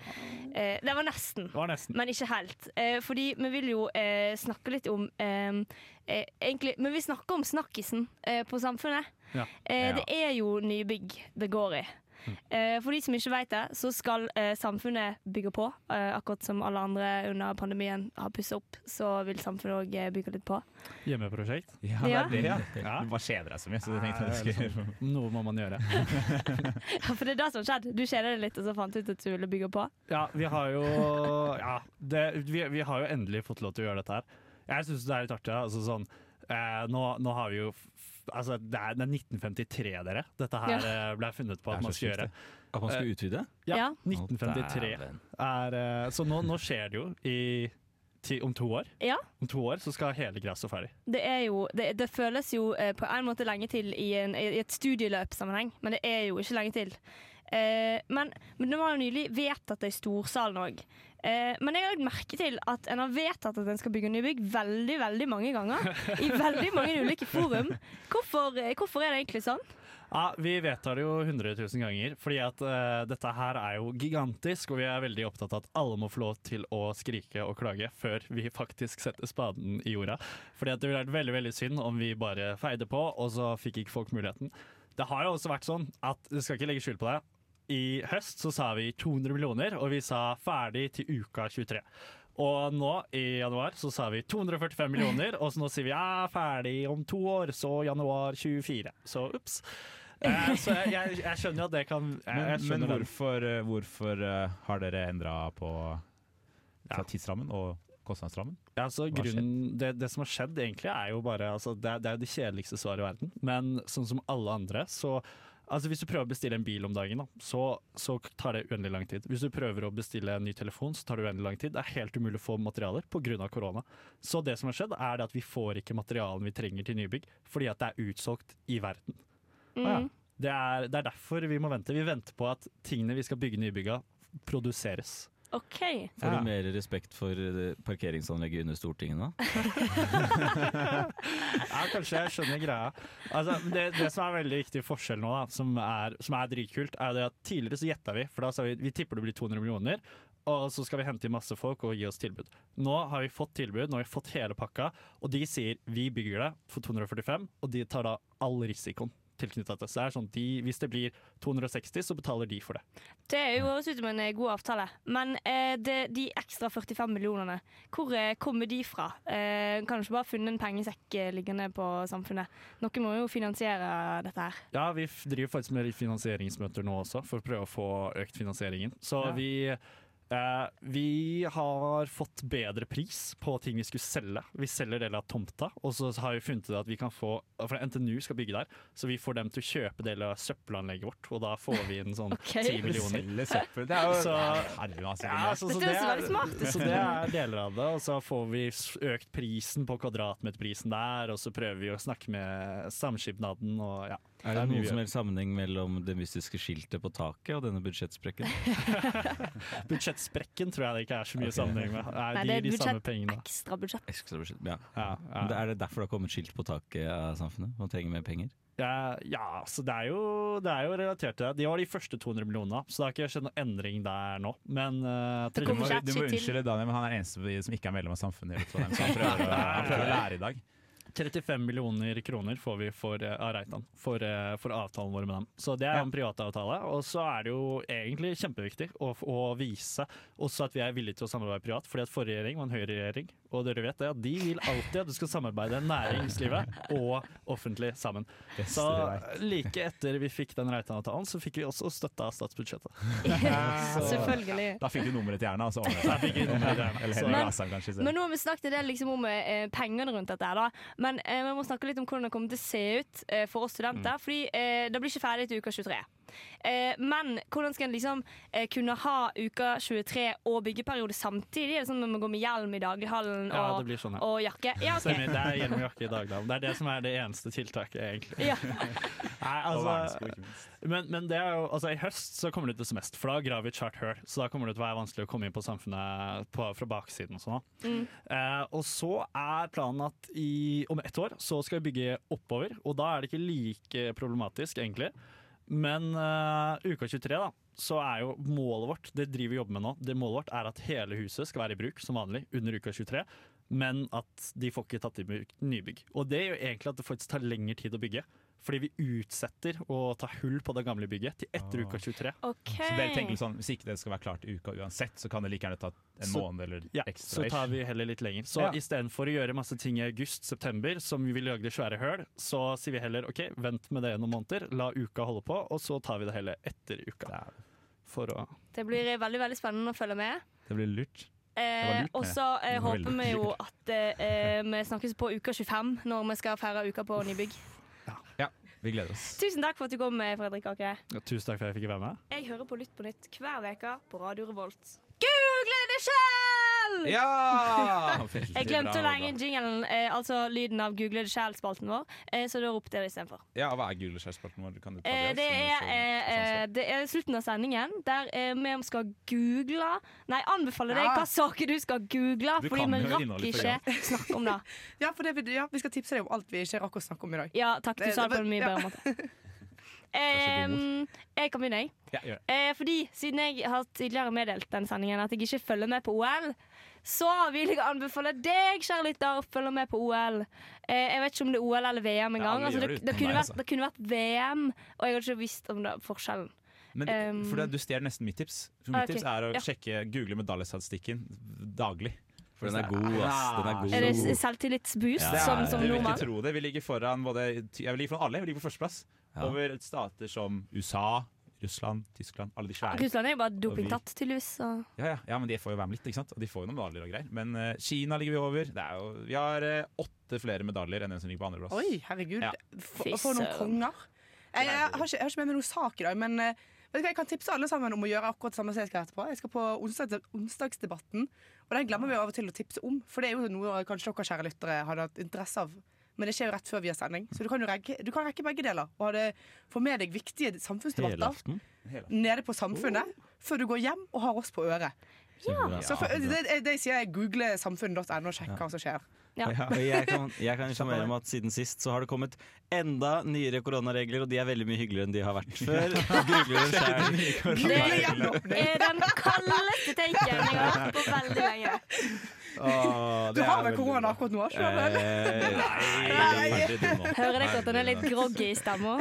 [SPEAKER 1] eh, Det var nesten.
[SPEAKER 10] Det var nesten.
[SPEAKER 1] Men ikke helt. Eh, fordi vi vil jo eh, snakke litt om eh, eh, Egentlig Men vi snakker om snakkisen eh, på samfunnet.
[SPEAKER 10] Ja. Mm.
[SPEAKER 1] Eh,
[SPEAKER 5] Ja.
[SPEAKER 1] det er jo nybygg det går i. Eh, for de som ikke vet det, så skal eh, samfunnet bygge på. Eh, akkurat som alle andre under pandemien har pussa opp, så vil samfunnet òg eh, bygge litt på.
[SPEAKER 10] Hjemmeprosjekt.
[SPEAKER 5] Ja, det
[SPEAKER 1] Ja.
[SPEAKER 5] er det, ja.
[SPEAKER 10] Ja.
[SPEAKER 5] Du bare kjeder deg så mye, så jeg tenkte jeg skulle
[SPEAKER 10] liksom Noe må man gjøre.
[SPEAKER 1] Ja, for det er det som har skjedd. Du kjeder deg litt, og så fant du ut at du ville bygge på.
[SPEAKER 10] Ja, vi har jo ja, det, vi, vi har jo endelig fått lov til å gjøre dette her. Jeg syns det er litt artig. ja. Altså, sånn, eh, nå, nå har vi jo f- altså, det, er, det er 1953, dere. Dette her eh, ble funnet på
[SPEAKER 5] Det er
[SPEAKER 10] at man
[SPEAKER 5] så
[SPEAKER 10] skal
[SPEAKER 5] sjukt,
[SPEAKER 10] gjøre.
[SPEAKER 6] At man skulle utvide?
[SPEAKER 10] Ja,
[SPEAKER 1] Ja.
[SPEAKER 10] 1953
[SPEAKER 6] Å, dæven.
[SPEAKER 10] er eh, Så nå, nå skjer det jo i ti, Om to år
[SPEAKER 1] Ja.
[SPEAKER 10] Om to år så skal hele gresset ferdig.
[SPEAKER 1] Det, er jo, det, det føles jo eh, på en måte lenge til i, en, i et studieløpsammenheng, men det er jo ikke lenge til. Eh, men, men det var jo nylig vedtatt det i storsalen òg. Eh, men jeg har lagt merke til at en har vedtatt at en skal bygge nybygg veldig veldig mange ganger. I veldig mange ulike forum. Hvorfor, eh, hvorfor er det egentlig sånn?
[SPEAKER 10] Ja, Vi vedtar det jo 100 000 ganger, fordi at eh, dette her er jo gigantisk, og vi er veldig opptatt av at alle må få lov til å skrike og klage før vi faktisk setter spaden i jorda. Fordi at det ville vært veldig veldig synd om vi bare feide på, og så fikk ikke folk muligheten. Det har jo også vært sånn at du skal ikke legge skjul på det. I høst så sa vi 200 millioner, og vi sa ferdig til uka 23. Og nå i januar så sa vi 245 millioner, og så nå sier vi ja, ferdig om to år, så januar 24. Så ups. Eh, så jeg, jeg, jeg skjønner jo at det kan jeg, jeg
[SPEAKER 5] Men, men
[SPEAKER 10] skjønner den.
[SPEAKER 5] hvorfor, eh, hvorfor eh, har dere endra på
[SPEAKER 10] Ja.
[SPEAKER 5] tidsrammen og kostnadsrammen?
[SPEAKER 10] altså,
[SPEAKER 5] Hva har
[SPEAKER 10] grunnen, det, det som har skjedd egentlig er jo bare altså, det, er- det er jo det kjedeligste svaret i verden. Men sånn som alle andre, så Altså Hvis du prøver å bestille en bil om dagen, da, så, så tar det uendelig lang tid. Hvis du prøver å bestille en ny telefon, så tar det uendelig lang tid. Det er helt umulig å få materialer pga. korona. Så det som har skjedd, er det at vi får ikke materialene vi trenger til nybygg, fordi at det er utsolgt i verden.
[SPEAKER 1] Mm.
[SPEAKER 5] ja.
[SPEAKER 10] Det er, det er derfor vi må vente. Vi venter på at tingene vi skal bygge nybygga, produseres.
[SPEAKER 1] OK.
[SPEAKER 6] Får
[SPEAKER 10] Ja.
[SPEAKER 6] du mer respekt for eh, parkeringsanlegget under Stortinget nå?
[SPEAKER 10] Ja, kanskje jeg skjønner greia. Altså, det, det som er veldig viktig forskjell nå, da, som, er, som er dritkult, er det at tidligere så gjetta vi, for da sa vi vi tipper det blir 200 millioner. Og så skal vi hente inn masse folk og gi oss tilbud. Nå har vi fått tilbud, nå har vi fått hele pakka, og de sier vi bygger det for 245, og de tar da all risikoen tilknyttet det. Så det er sånn, de, hvis det blir 260, så betaler de for det.
[SPEAKER 1] Det er jo høres ut som en eh, god avtale. Men eh, det, de ekstra 45 millionene, hvor eh, kommer de fra? Eh, kan du ikke bare funnet en pengesekk eh, liggende på samfunnet? Noen må jo finansiere dette her.
[SPEAKER 10] Ja, vi f- driver faktisk med litt finansieringsmøter nå også, for å prøve å få økt finansieringen. Så vi, eh, vi har fått bedre pris på ting vi skulle selge. Vi selger deler av tomta, og så har vi funnet ut at vi kan få For NTNU skal bygge der, så vi får dem til å kjøpe deler av søppelanlegget vårt, og da får vi inn sånn
[SPEAKER 1] Ok.
[SPEAKER 10] 10 millioner.
[SPEAKER 5] Selge søppel. Det er jo
[SPEAKER 10] Så-
[SPEAKER 5] Herre, altså,
[SPEAKER 10] Ja,
[SPEAKER 5] det
[SPEAKER 10] så, så,
[SPEAKER 1] Dette
[SPEAKER 10] det
[SPEAKER 1] høres
[SPEAKER 10] er,
[SPEAKER 1] veldig smart ut.
[SPEAKER 10] så det er deler av det, og så får vi s- økt prisen på kvadratmeterprisen der, og så prøver vi å snakke med samskipnaden og ja.
[SPEAKER 6] Er det
[SPEAKER 10] mye
[SPEAKER 6] noen
[SPEAKER 10] vi
[SPEAKER 6] som helst sammenheng mellom det mystiske skiltet på taket og denne budsjettsprekken?
[SPEAKER 10] Budsjettsprekken tror jeg det ikke er så mye
[SPEAKER 6] Ok.
[SPEAKER 10] sammenheng med. Nei,
[SPEAKER 1] Nei,
[SPEAKER 10] de
[SPEAKER 1] det
[SPEAKER 10] gir
[SPEAKER 1] er
[SPEAKER 10] de samme
[SPEAKER 1] budsjett,
[SPEAKER 10] pengene.
[SPEAKER 1] ekstra budsjett.
[SPEAKER 6] Ekstra budsjett, ja.
[SPEAKER 10] Ja,
[SPEAKER 6] Men det-
[SPEAKER 10] ja.
[SPEAKER 6] Er det derfor det har kommet skilt på taket av samfunnet? Man trenger mer penger?
[SPEAKER 10] ja, ja så det er, jo, det er jo relatert til det. De var de første 200 millionene, så det har ikke skjedd noen endring der nå. Men eh,
[SPEAKER 5] Du
[SPEAKER 1] Det
[SPEAKER 5] må,
[SPEAKER 1] kommer
[SPEAKER 10] tredje-
[SPEAKER 1] ikke
[SPEAKER 5] du må
[SPEAKER 1] et skitt til.
[SPEAKER 5] unnskylde Daniel, men han er den eneste som ikke er medlem av samfunnet. i hele Trondheim, Så han prøver, å- han prøver å lære i dag.
[SPEAKER 10] 35 millioner kroner får vi for, eh, av Reitan for, eh, for avtalen vår med dem. Så det er en privatavtale. Og så er det jo egentlig kjempeviktig å, f- å vise også at vi er villige til å samarbeide privat. fordi at forrige regjering var en høyreregjering, og dere vet det, at de vil alltid at du skal samarbeide næringslivet og offentlig sammen. Så like etter vi fikk den Reitan-avtalen, så fikk vi også støtte av statsbudsjettet.
[SPEAKER 1] eh, Selvfølgelig.
[SPEAKER 5] Da fikk du nummeret til Erna, og så ordnet det seg. Eller Henrik
[SPEAKER 1] Men-
[SPEAKER 5] Asheim, kanskje.
[SPEAKER 1] Men
[SPEAKER 5] selv.
[SPEAKER 1] nå har vi snakket en del liksom om eh, pengene rundt dette, her, da. men eh, vi må snakke litt om hvordan det kommer til å se ut eh, for oss
[SPEAKER 5] Mm.
[SPEAKER 1] studenter. Fordi eh, det blir ikke ferdig til uka 23. Eh, men hvordan skal en liksom eh, kunne ha uka 23 og byggeperiode samtidig? Er det sånn at man må gå med hjelm i daglighallen
[SPEAKER 10] Ja,
[SPEAKER 1] og,
[SPEAKER 10] det blir sånn her.
[SPEAKER 1] og jakke? Ja, ok.
[SPEAKER 10] Stemmer, det er gjennom jakke i dag, da. Det er det som er det eneste tiltaket, egentlig.
[SPEAKER 1] Ja.
[SPEAKER 10] Nei,
[SPEAKER 5] Og
[SPEAKER 10] altså,
[SPEAKER 5] vernesko, ikke minst.
[SPEAKER 10] men, men det er jo, altså, i høst så kommer det til semester, for da graver vi et svært høl. Så da kommer det til å være vanskelig å komme inn på samfunnet på, fra baksiden og sånn. da. Eh, og så er planen at i, om ett år så skal vi bygge oppover, og da er det ikke like problematisk, egentlig. Men eh, uka 23, da, så er jo målet vårt Det driver vi jobber med nå. Det målet vårt er at hele huset skal være i bruk som vanlig under uka 23. Men at de får ikke tatt i bruk nybygg. Og det gjør egentlig at det faktisk tar lengre tid å bygge. Fordi vi utsetter å ta hull på det gamle bygget til etter
[SPEAKER 5] Ah.
[SPEAKER 10] uka 23.
[SPEAKER 1] OK.
[SPEAKER 5] Så dere tenker litt sånn, Hvis ikke det skal være klart i uka uansett, så kan det like gjerne ta en
[SPEAKER 10] Så-
[SPEAKER 5] måned eller
[SPEAKER 10] Ja, så
[SPEAKER 5] ekstra.
[SPEAKER 10] tar
[SPEAKER 5] ish.
[SPEAKER 10] vi heller litt lenger. Så
[SPEAKER 5] Ja.
[SPEAKER 10] istedenfor å gjøre masse ting i august-september, som vi vil lage svære høl, så sier vi heller OK, vent med det noen måneder, la uka holde på, og så tar vi det heller etter uka. For å
[SPEAKER 1] Det blir eh, veldig, veldig spennende å følge med.
[SPEAKER 5] Det blir lurt. var
[SPEAKER 1] Eh,
[SPEAKER 5] lurt,
[SPEAKER 1] og så eh,
[SPEAKER 5] Det var
[SPEAKER 1] håper vi
[SPEAKER 5] veldig
[SPEAKER 1] jo at eh, eh, vi snakkes på uka 25 når vi skal feire uka på nybygg.
[SPEAKER 5] Vi gleder oss.
[SPEAKER 1] Tusen takk for at du kom, eh, Fredrik Akre.
[SPEAKER 10] Ja, Tusen takk for at jeg fikk være med.
[SPEAKER 1] Jeg hører på Lytt på nytt hver veke på Radio Revolt. Google det selv!
[SPEAKER 5] Ja!
[SPEAKER 1] Jeg glemte å legge inn jingelen, eh, altså lyden av Google det selv-spalten vår, eh, så da ropte jeg det istedenfor.
[SPEAKER 5] Ja, hva er gule skjærspalten vår? Kan du ta
[SPEAKER 1] Eh,
[SPEAKER 5] det?
[SPEAKER 1] det, er,
[SPEAKER 5] sånn,
[SPEAKER 1] eh, eh, det er slutten av sendingen, der eh, vi skal google Nei, anbefale deg
[SPEAKER 7] Ja.
[SPEAKER 1] hva saker du skal google,
[SPEAKER 5] Du
[SPEAKER 1] fordi
[SPEAKER 5] kan
[SPEAKER 1] vi
[SPEAKER 5] jo
[SPEAKER 1] rakk
[SPEAKER 5] innholdet for
[SPEAKER 1] ikke snakke om det.
[SPEAKER 7] Ja, for det, ja, vi skal tipse deg om alt vi ikke rakk å snakke om i dag.
[SPEAKER 1] Ja, takk, du
[SPEAKER 7] Det-
[SPEAKER 1] sa det
[SPEAKER 7] det
[SPEAKER 1] på en mye
[SPEAKER 7] var-
[SPEAKER 1] bedre måte. Em, jeg kan begynne, jeg.
[SPEAKER 5] sånn. Ja, gjør det.
[SPEAKER 1] Eh, fordi siden jeg har tidligere meddelt den sendingen at jeg ikke følger med på OL, så vil jeg anbefale deg, kjære lytter, å følge med på OL. Eh, jeg vet ikke om det er OL eller VM
[SPEAKER 5] Ja,
[SPEAKER 1] engang.
[SPEAKER 5] alle
[SPEAKER 1] altså, det,
[SPEAKER 5] gjør det
[SPEAKER 1] det,
[SPEAKER 5] utenom
[SPEAKER 1] kunne
[SPEAKER 5] meg,
[SPEAKER 1] vært,
[SPEAKER 5] altså.
[SPEAKER 1] det kunne vært VM, og jeg hadde ikke visst om det forskjellen.
[SPEAKER 5] Men
[SPEAKER 1] Ehm.
[SPEAKER 5] for det, du stjeler nesten mitt tips. For
[SPEAKER 1] Ah,
[SPEAKER 5] mitt
[SPEAKER 1] ok.
[SPEAKER 5] tips er å
[SPEAKER 1] Ja.
[SPEAKER 5] sjekke, google medaljestatistikken daglig.
[SPEAKER 6] For den er god, ass. Den er god.
[SPEAKER 1] Er det s- selvtillitsboost
[SPEAKER 6] Ja,
[SPEAKER 1] som,
[SPEAKER 6] ja,
[SPEAKER 1] som
[SPEAKER 5] Ah. du vil ikke
[SPEAKER 1] nordmann?
[SPEAKER 5] tro det. Vi ligger foran både Jeg vil ligge foran alle. Vi ligger på førsteplass.
[SPEAKER 6] Ja.
[SPEAKER 5] Over stater som USA, Russland, Tyskland. Alle de svære.
[SPEAKER 1] Russland er jo bare
[SPEAKER 5] vi-
[SPEAKER 1] dopingtatt, tydeligvis. Så.
[SPEAKER 5] Ja, ja, ja, men de får jo være med litt, ikke sant? Og de får jo noen medaljer og greier. Men eh, Kina ligger vi over. Det er jo, vi har eh, åtte flere medaljer enn den som ligger på andreplass.
[SPEAKER 7] Oi, herregud.
[SPEAKER 5] Ja.
[SPEAKER 7] For,
[SPEAKER 1] Fy
[SPEAKER 7] for noen
[SPEAKER 1] søren.
[SPEAKER 7] konger. Jeg, jeg, har ikke, jeg har ikke med meg noen sak i dag, men eh, vet du hva, jeg kan tipse alle sammen om å gjøre akkurat det samme som jeg skal etterpå. Jeg skal på onsdag, eh, onsdagsdebatten, og den glemmer vi av og til å tipse om. For det er jo noe kanskje dere kjære lyttere hadde hatt interesse av men det skjer jo rett før vi har sending. Så du kan jo rekke, du kan rekke begge deler. Og ha det, få med deg viktige
[SPEAKER 6] Hele
[SPEAKER 7] samfunnsdebatter
[SPEAKER 6] aften.
[SPEAKER 7] nede på Samfunnet før du går hjem og har oss på øret.
[SPEAKER 6] Ja.
[SPEAKER 7] Så for, det, det, det jeg sier jeg google samfunnet.no og sjekk hva som skjer.
[SPEAKER 6] Og jeg kan, jeg kan informere om at siden sist så har det kommet enda nyere koronaregler, og de er veldig mye hyggeligere enn de har vært før. Googler det selv.
[SPEAKER 1] Det er den kaldeste taken jeg har hatt på veldig lenge.
[SPEAKER 7] Du har vel korona akkurat nå? ikke sant?
[SPEAKER 6] Eh,
[SPEAKER 7] Nei.
[SPEAKER 1] Hører dere at den er litt groggy i stemma?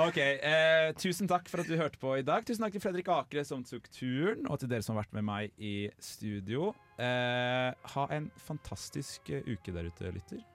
[SPEAKER 5] Ok, eh, Tusen takk for at du hørte på i dag. Tusen takk til Fredrik Akre som tok turen, og til dere som har vært med meg i studio. Eh, ha en fantastisk eh, uke der ute, lytter.